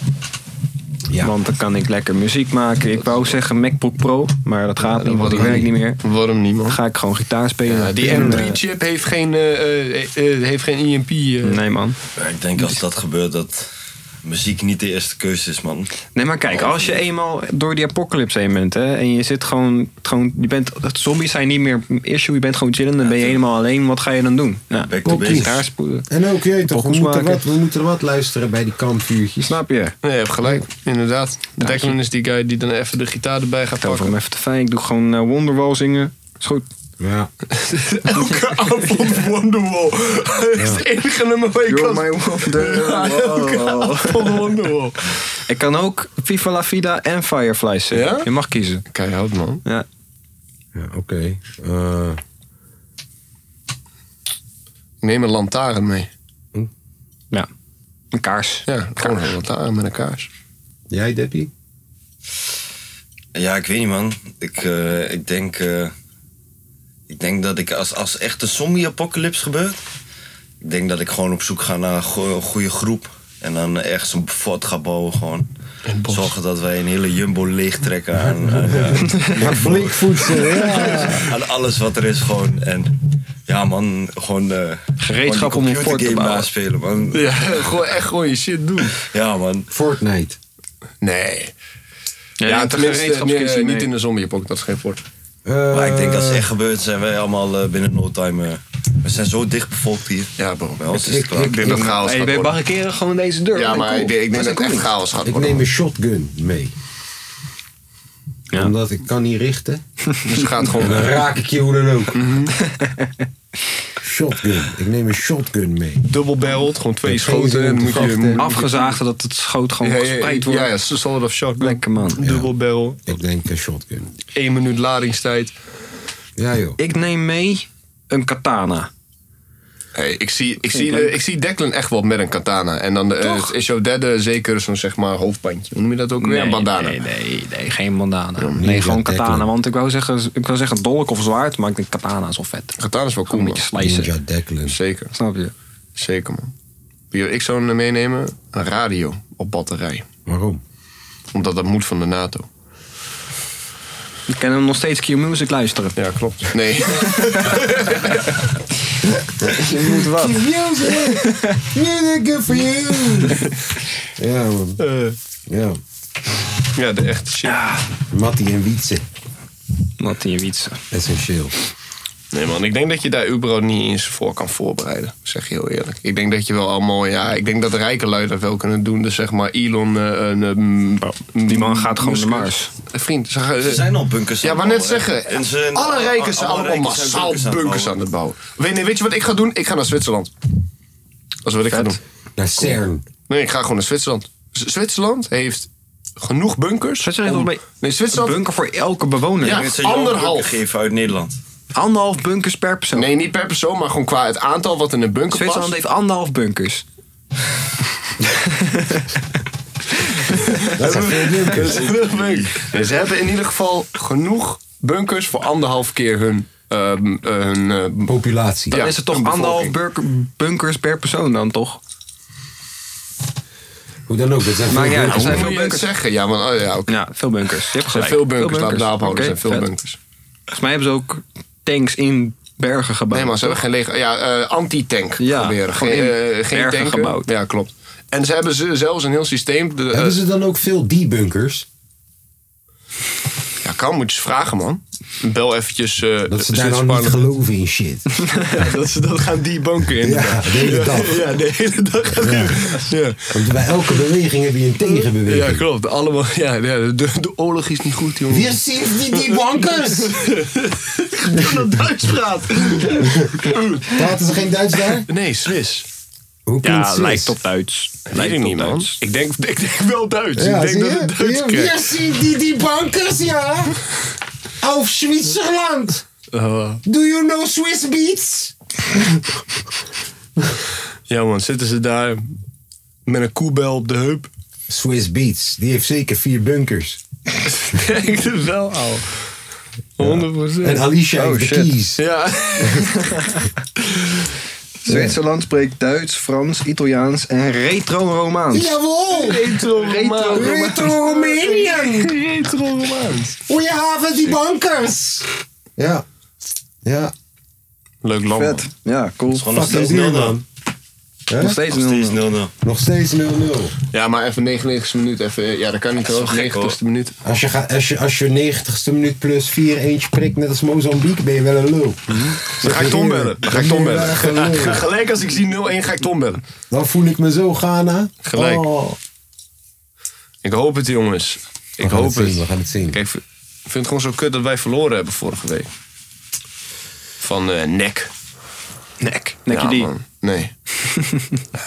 S3: Want dan kan ik lekker muziek maken. Ik wou zeggen MacBook Pro, maar dat gaat niet, want die werkt niet meer.
S9: Waarom niet, man?
S3: Dan ga ik gewoon gitaar spelen.
S2: Ja, die
S3: En, eh,
S2: M3-chip heeft geen, eh, eh, eh, heeft geen IMP. eh.
S3: Nee, man.
S4: Maar ik denk als dat gebeurt dat muziek niet de eerste keuze is, man.
S3: Nee, maar kijk, als je eenmaal door die apocalypse heen bent hè, en je zit gewoon, gewoon je bent, zombies zijn niet meer een issue, je bent gewoon chillen, dan ben je helemaal alleen, wat ga je dan doen? Nou,
S4: Back to basics.
S3: gitaar spoelen.
S1: En ook, je weet toch, we
S3: Pokkels
S1: moeten,
S3: maken.
S1: wat, we moeten wat luisteren bij die kampvuurtjes.
S3: Snap je?
S2: Nee, je hebt gelijk. Inderdaad. Declan is die guy die dan even de gitaar erbij gaat
S3: Tel voor
S2: pakken.
S3: hem even te fijn, ik doe gewoon eh, Wonderwall zingen. Is goed.
S1: Ja.
S2: Elke avond Wonderwall. Dat is het enige nummer waar je
S3: You're
S2: kan...
S3: my wonderwall.
S2: Van Wonderwall.
S3: Ik kan ook Viva La Vida en Fireflies zingen.
S2: Ja?
S3: Je mag kiezen.
S2: Keihard, man.
S3: Ja.
S1: Ja, oké. Eh,
S2: Neem een lantaarn mee.
S3: ja. Een kaars.
S2: Ja, gewoon een lantaarn met een kaars.
S1: jij, Deppie?
S4: Ja, ik weet niet, man. Ik, eh, ik denk... eh, ik denk dat ik als, als echt een zombie-apocalypse gebeurt... Ik denk dat ik gewoon op zoek ga naar een go- goede groep. En dan ergens een fort ga bouwen gewoon. Zorgen dat wij een hele jumbo leegtrekken aan, aan,
S1: Ja, blinkvoedsel, ja.
S4: aan alles wat er is gewoon. En ja man, gewoon... eh
S3: Gereedschap om een fort te bouwen.
S4: spelen man.
S2: Ja, gewoon echt gewoon je shit doen.
S4: Ja man.
S1: Fortnite.
S2: Nee. Ja,
S3: je hebt
S2: tenminste
S3: gereedschapskistje,
S2: nee,
S3: nee.
S2: niet in de zombie-pok, dat is geen fort.
S1: Eh,
S4: Maar ik denk als het echt gebeurt zijn wij allemaal eh, binnen no time... eh, we zijn zo dicht bevolkt hier.
S2: Ja, bro.
S4: Bij ons is het
S1: Ik-
S4: klaar.
S1: ik-
S2: denk dat chaos
S3: Hey,
S2: gaat
S3: we
S2: worden.
S3: barricaderen gewoon deze deur.
S2: Ja,
S3: Nee,
S2: maar
S3: cool.
S2: ik denk, ik denk
S3: Maar
S2: dat het echt
S3: zijn
S2: chaos gaat
S1: ik
S2: worden.
S1: neem een shotgun mee.
S3: Ja.
S1: Omdat ik kan niet richten.
S2: Dus gaat
S1: En dan
S2: gewoon...
S1: raak ik je hoe dan ook. Shotgun. Ik neem een shotcool mee.
S2: Dubbel barreled, gewoon twee
S1: Geen zin
S2: schoten.
S1: om
S2: En
S1: te
S2: dan moet je...
S1: wachten.
S2: moet je-
S3: cool. Afgezaagd dat het schoot gewoon
S2: Ja, ja,
S3: gespreid wordt.
S2: ja, ja, solid of shotgun.
S3: Lekker man.
S2: Dubbel barrel.
S1: Ik denk een shotgun.
S2: 1 minuut ladingstijd.
S1: Ja joh.
S3: Ik neem mee een katana.
S2: Hey, ik, zie, ik, zie, eh, ik zie Declan echt wel met een katana. En dan eh, is jouw derde zeker zo'n zeg maar hoofdbandje. Hoe noem je dat ook weer? een bandana.
S3: Nee, nee, nee, geen bandana.
S1: niet
S3: nee, gewoon
S1: dat
S3: katana.
S1: Declan.
S3: Want ik wou zeggen, ik wou zeggen dolk of zwaard, maar ik denk katana is wel vet.
S2: Katana is wel cool,
S3: Een
S2: man.
S3: beetje slicen.
S1: Ninja Declan.
S2: Zeker,
S3: Snap je?
S2: zeker, man. Wie wil ik zou eh, meenemen? Een radio op batterij.
S1: Waarom?
S2: Omdat dat moet van de NATO.
S3: Ik kan hem nog steeds Q Music luisteren.
S2: Ja, klopt. Nee.
S3: Je moet wat.
S1: Good for you. Ja man. Ja.
S2: ja, de echte shit.
S1: Mattie en Wietse.
S3: Wat in je wietsen.
S1: Essentieel.
S2: Nee, man. Ik denk dat je daar überhaupt niet eens voor kan voorbereiden. Zeg je heel eerlijk. Ik denk dat je wel allemaal... Ja, ik denk dat rijke lui dat wel kunnen doen. Dus zeg maar Elon... eh, een, eh, m-
S3: Oh, Die man gaat gewoon
S2: Musk.
S3: naar Mars.
S2: Vriend, zeg, eh,
S4: Ze zijn al bunkers
S2: Ja,
S4: aan
S2: maar
S4: het
S2: net
S4: bouwen, hè.
S2: zeggen.
S4: En ze-
S2: alle rijken zijn allemaal
S4: rijken zijn
S2: massaal bunkers aan het bouwen. Weet, nee, weet je wat ik ga doen? Ik ga naar Zwitserland. Dat is wat ik ga doen.
S1: Naar CERN.
S2: Nee, ik ga gewoon naar Zwitserland. Z- Zwitserland heeft genoeg bunkers.
S3: Zwitserland
S2: om-
S3: heeft volgens mij
S2: Nee,
S3: Een
S2: Zwitserland.
S3: bunker voor elke bewoner.
S2: Ja.
S4: Mensen jou een
S2: Anderhalf.
S4: bunker geven uit Nederland.
S3: Anderhalf bunkers per persoon.
S2: Nee, niet per persoon, maar gewoon qua het aantal wat in een bunker
S3: Zwitserland
S2: past.
S3: heeft anderhalf bunkers.
S1: Dat zijn veel bunkers.
S2: Dus ze hebben in ieder geval genoeg bunkers voor anderhalf keer hun. ehm, eh, hun eh,
S1: Populatie.
S2: Ja,
S3: Dan is het toch
S2: een
S3: anderhalf
S2: bevolking.
S3: burker- bunkers per persoon dan toch?
S1: Hoe dan ook. Dat zijn
S3: Maar
S1: veel
S3: ja,
S1: bunkers.
S3: zijn
S2: hoe
S3: veel
S2: moet je het
S3: bunkers.
S2: zeggen? Ja, maar, oh, ja, oké.
S3: Ja, veel bunkers. Je hebt
S2: Er zijn
S3: gelijk.
S2: veel bunkers, laat het daarop houden. Er
S3: Oké,
S2: zijn veel
S3: vet.
S2: bunkers.
S3: Volgens mij hebben ze ook tanks in bergen gebouwd.
S2: Nee, maar ze hebben geen leger. Ja, eh, anti-tank
S3: Ja,
S2: proberen. Geen,
S3: gewoon in
S2: eh, geen
S3: bergen
S2: tanken.
S3: gebouwd.
S2: Ja, klopt. En ze hebben ze zelfs een heel systeem. De, eh,
S1: Hebben ze dan ook veel die bunkers?
S2: ja, kan, moet je eens vragen, man. Bel eventjes. eh,
S1: Dat ze
S2: de
S1: daar dan niet
S2: Zwitserse
S1: geloven in shit.
S2: parlement. dat ze dat gaan die banken in.
S1: Ja, de hele dag.
S2: Ja, de hele dag gaat die- ja.
S1: Want bij elke beweging heb je een tegenbeweging.
S2: ja, klopt. Allemaal, ja, ja, de, de oorlog is niet goed, jongen.
S1: Weer sinds die, die bankers!
S2: dat Duits praat?
S1: Praten ze geen Duits daar?
S2: Nee, Swiss.
S1: Hoe klinkt
S3: Ja,
S1: Swiss?
S3: lijkt op Duits.
S2: Weet
S3: Lijkt
S2: ik
S3: op
S2: niet, man.
S3: Duits.
S2: Ik denk, ik denk wel Duits.
S1: Ja,
S2: ik denk
S1: zie
S2: dat
S1: je?
S2: het Duits
S1: Ja,
S2: krijgt.
S1: weer zien die, die bankers, ja? Auf Zwitserland!
S2: Oh.
S1: Do you know Swiss beats?
S2: Ja, man. Zitten ze daar met een koebel op de heup?
S1: Swiss beats, die heeft zeker vier bunkers.
S2: denk het wel al. Oh, 100
S1: En Alicia heeft de keys.
S2: Ja.
S3: Zwitserland spreekt Duits, Frans, Italiaans en retro-Romaans.
S1: Jawohl!
S3: Retro-Romaans.
S1: Retro-Romanian! We have die bankers! Ja. Ja.
S2: Leuk land.
S3: Vet. Ja, cool.
S4: Gewoon nog
S1: Fuck is
S4: steeds
S1: nieuw
S4: 0
S1: dan.
S3: Nog steeds
S4: Nog steeds
S3: 0
S4: 0
S1: Nog steeds 0-0.
S10: Ja, maar even 99ste minuut. Even, ja, dat kan niet
S4: wel
S10: wel.
S4: gek,
S10: 90ste minuut.
S1: Als je, ga, als, je, als je 90ste minuut plus 4 eentje prikt, net als Mozambique, ben je wel een lul.
S10: Dan ga ik Tom bellen. Dan ga ik Tom bellen. Gelijk als ik zie 0-1 ga ik Tom bellen.
S1: Dan voel ik me zo Ghana.
S10: Gelijk.
S1: Oh.
S2: Ik hoop het, jongens.
S1: We
S2: Ik
S1: gaan
S2: hoop
S1: het zien,
S2: het.
S1: we gaan het zien.
S2: Kijk, ik vind het gewoon zo kut dat wij verloren hebben vorige week. Van eh nek. Nek.
S3: Nekkie die.
S2: Nee.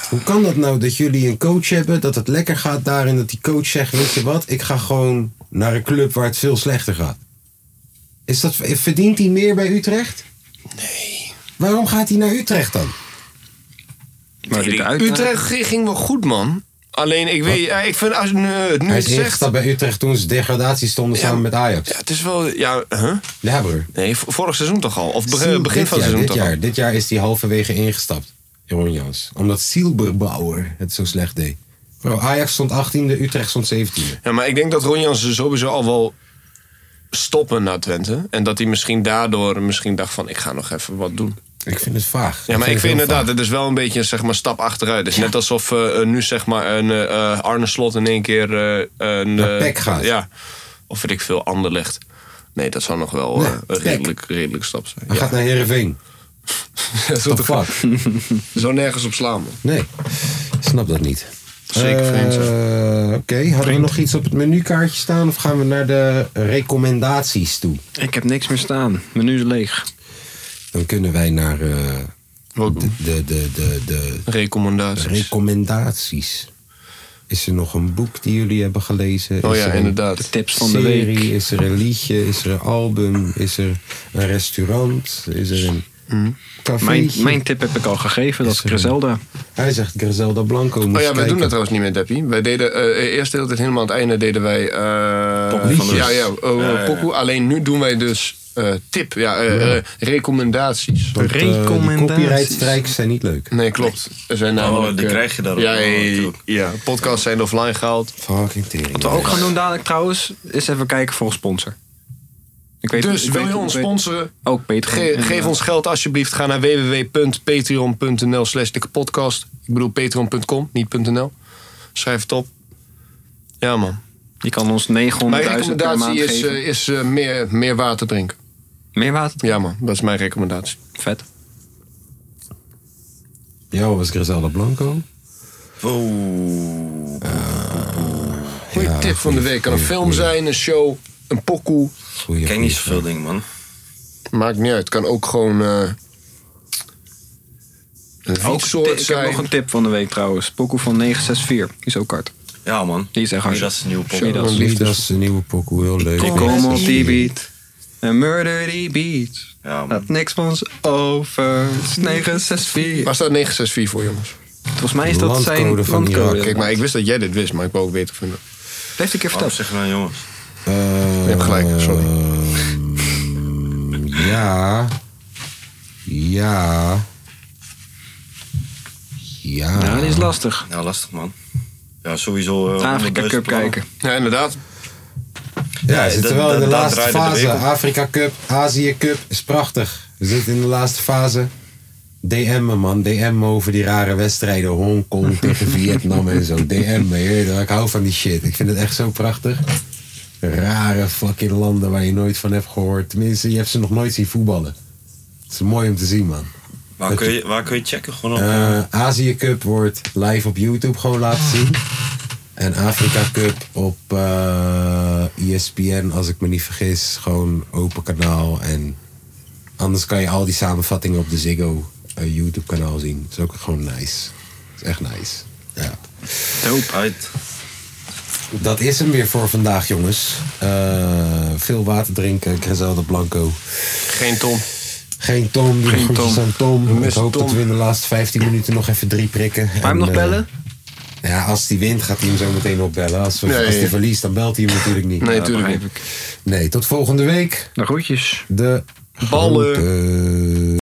S1: Hoe kan dat nou dat jullie een coach hebben, dat het lekker gaat daar en dat die coach zegt, weet je wat, ik ga gewoon naar een club waar het veel slechter gaat? Is dat, verdient hij meer bij Utrecht? Nee. Waarom gaat hij naar Utrecht dan?
S3: Maar dit uit.
S2: Utrecht ging ging wel goed, man. Alleen, ik weet, ja, ik vind als je nu eh, het nu
S1: Hij
S2: het
S1: is
S2: zegt...
S1: ingestapt bij Utrecht toen ze degradatie stonden samen met Ajax.
S2: Ja, het is wel, ja, huh?
S1: Ja, broer.
S2: Nee, v- vorig seizoen toch al? Of
S1: Siel
S2: begin, begin
S1: dit
S2: van het
S1: jaar,
S2: seizoen
S1: dit
S2: toch al?
S1: jaar, dit jaar is hij halverwege ingestapt. Jeroen Jans. Omdat Silberbauer het zo slecht deed. Bro, Ajax stond 18e, Utrecht stond 17e.
S2: Ja, maar ik denk dat Ronjans sowieso al wel stoppen na Twente. En dat hij misschien daardoor misschien dacht van, ik ga nog even wat doen.
S1: Ik vind het vaag.
S2: Ja, maar ik
S1: het
S2: vind
S1: heel
S2: inderdaad,
S1: vaag.
S2: het is wel een beetje zeg maar, stap achteruit. Het is net alsof eh, eh, nu zeg maar, een, eh, eh, Arne Slot in één keer eh, een...
S1: Naar
S2: eh,
S1: PEC gaat.
S2: Ja, of weet ik veel, ander legt. Nee, dat zou nog wel
S1: Nee,
S2: eh, een
S1: PEC.
S2: redelijk, redelijk stap zijn.
S1: Hij gaat naar Heerenveen. What the fuck?
S2: Zo nergens op slaan, man.
S1: Nee, ik snap dat niet.
S2: Zeker vreemd, zeg.
S1: Eh, Oké, hadden we nog iets op het menukaartje staan of gaan we naar de recommendaties toe?
S3: Ik heb niks meer staan. Menu is leeg.
S1: Dan kunnen wij naar eh,
S2: Wat-
S1: de, de, de, de, de
S2: Recommendaties.
S1: recommendaties. Is er nog een boek die jullie hebben gelezen?
S2: oh
S1: Is
S2: ja,
S1: er een
S3: De
S2: inderdaad.
S3: tips van de
S1: Serie,
S3: week.
S1: is er een liedje, is er een album, is er een restaurant, is er een café.
S3: Mm. Mijn, mijn tip heb ik al gegeven, dat is
S1: Is er een-
S3: Griselda.
S1: Hij zegt Griselda Blanco.
S2: Oh ja, wij
S1: we
S2: doen dat trouwens niet meer, Deppie. Wij deden eh, eerst de hele tijd helemaal aan het einde deden wij... eh,
S1: Liedjes.
S2: ja, ja, oh, pokoe. Alleen nu doen wij dus eh, tip, ja, eh, eh, recommendaties.
S3: Recommendaties.
S1: Copyrightstrikes eh, zijn niet leuk.
S2: Nee, klopt. Er zijn namelijk,
S4: die
S2: eh,
S4: krijg je daarop.
S2: Ja, ja,
S4: Oh,
S2: ja,
S4: natuurlijk.
S2: ja. podcasts zijn offline gehaald.
S1: Fucking tering.
S3: Wat we ook gaan doen dadelijk trouwens, is even kijken voor een sponsor. Ik weet,
S2: Dus
S3: ik
S2: wil
S3: weet-
S2: je
S3: ik
S2: ons
S3: weet-
S2: sponsoren?
S3: Ook Peter.
S2: Ge- geef ons geld alsjeblieft. Ga naar www.patreon.nl slash podcast. Ik bedoel patreon.com, niet .nl. Schrijf het op. Ja man.
S3: Je kan ons 900.000
S2: Mijn
S3: per maand
S2: recommendatie is,
S3: geven.
S2: eh, is eh, meer, meer water drinken.
S3: Meer water?
S2: Ja man, dat is mijn recommendatie.
S3: Vet.
S1: Jou was Griselda Blanco.
S2: Goeie
S1: Ja,
S2: tip van de
S1: goeie,
S2: week. Kan een
S1: goeie,
S2: film
S1: goeie.
S2: zijn, een show, een pokoe.
S1: Goeie
S4: Ik ken niet zoveel dingen, man.
S2: Maakt niet uit. Kan ook gewoon... eh een
S3: Ook,
S2: wietsoort
S3: ik heb
S2: zijn.
S3: nog een tip van de week trouwens. Pokoe van 964. Die is ook hard.
S4: Ja, man.
S3: Die is echt hard.
S4: Nee, dat is een nieuwe pokoe.
S3: Show.
S1: Liefdes. Liefdes, een nieuwe pokoe, heel leuk.
S3: Ik kom op die beat. En murder die beat.
S4: Ja, man.
S3: Laat niks van ons over. Het is 964.
S2: Waar staat 964 voor, jongens?
S3: Volgens mij is dat
S1: Landcode
S3: zijn
S1: van
S3: landcode.
S1: Irak.
S2: Kijk, maar ik wist dat jij dit wist, maar ik wou ook weten van...
S3: Dat heeft een keer
S4: Waarom
S3: verteld.
S4: zeggen nou, jongens?
S1: Eh,
S2: Je hebt gelijk, sorry.
S1: ehm, ja. Ja. Ja.
S3: Ja, die is lastig.
S4: Ja, lastig, man. Ja, sowieso. eh,
S3: Afrika
S4: 100.000
S3: Cup
S4: plannen.
S3: kijken.
S2: Ja, inderdaad.
S1: Ja, we
S4: Ja,
S1: zitten
S4: dat-
S1: wel in de
S4: dat- dat
S1: laatste
S4: draaide de
S1: fase.
S4: wereld.
S1: Afrika Cup, Azië Cup is prachtig. We zitten in de laatste fase. DM me man, DM me over die rare wedstrijden. Hongkong tegen Vietnam en zo. DM me, heerlijk. ik hou van die shit. Ik vind het echt zo prachtig. Rare fucking landen waar je nooit van hebt gehoord. Tenminste, je hebt ze nog nooit zien voetballen. Het is mooi om te zien man.
S4: Waar kun, je, waar kun je checken? Gewoon op.
S1: Eh Azië Cup wordt live op YouTube gewoon laten zien. En Afrika Cup op eh ESPN, als ik me niet vergis. Gewoon open kanaal. En anders kan je al die samenvattingen op de Ziggo eh, YouTube kanaal zien. is ook gewoon nice. is echt nice. Ja.
S4: eh, Uit.
S1: Dat is hem weer voor vandaag, jongens. Eh, veel water drinken, Griselda Blanco.
S2: Geen ton.
S1: Geen Tom, doe de
S3: Geen
S1: groetjes
S3: Tom.
S1: aan Tom. Ik
S2: missen
S1: hoop dat
S2: Tom.
S1: we in de laatste 15 minuten nog even drie prikken. eh,
S3: Ga je hem nog bellen?
S1: Ja, als die wint, gaat hij hem zo meteen opbellen. Als, we,
S2: Nee.
S1: als die verliest, dan belt hij hem natuurlijk niet.
S2: Nee,
S1: Nee,
S2: natuurlijk niet.
S3: begrijp ik.
S1: tot volgende week.
S3: Nou, groetjes.
S1: De
S2: Ballen.
S1: groeten.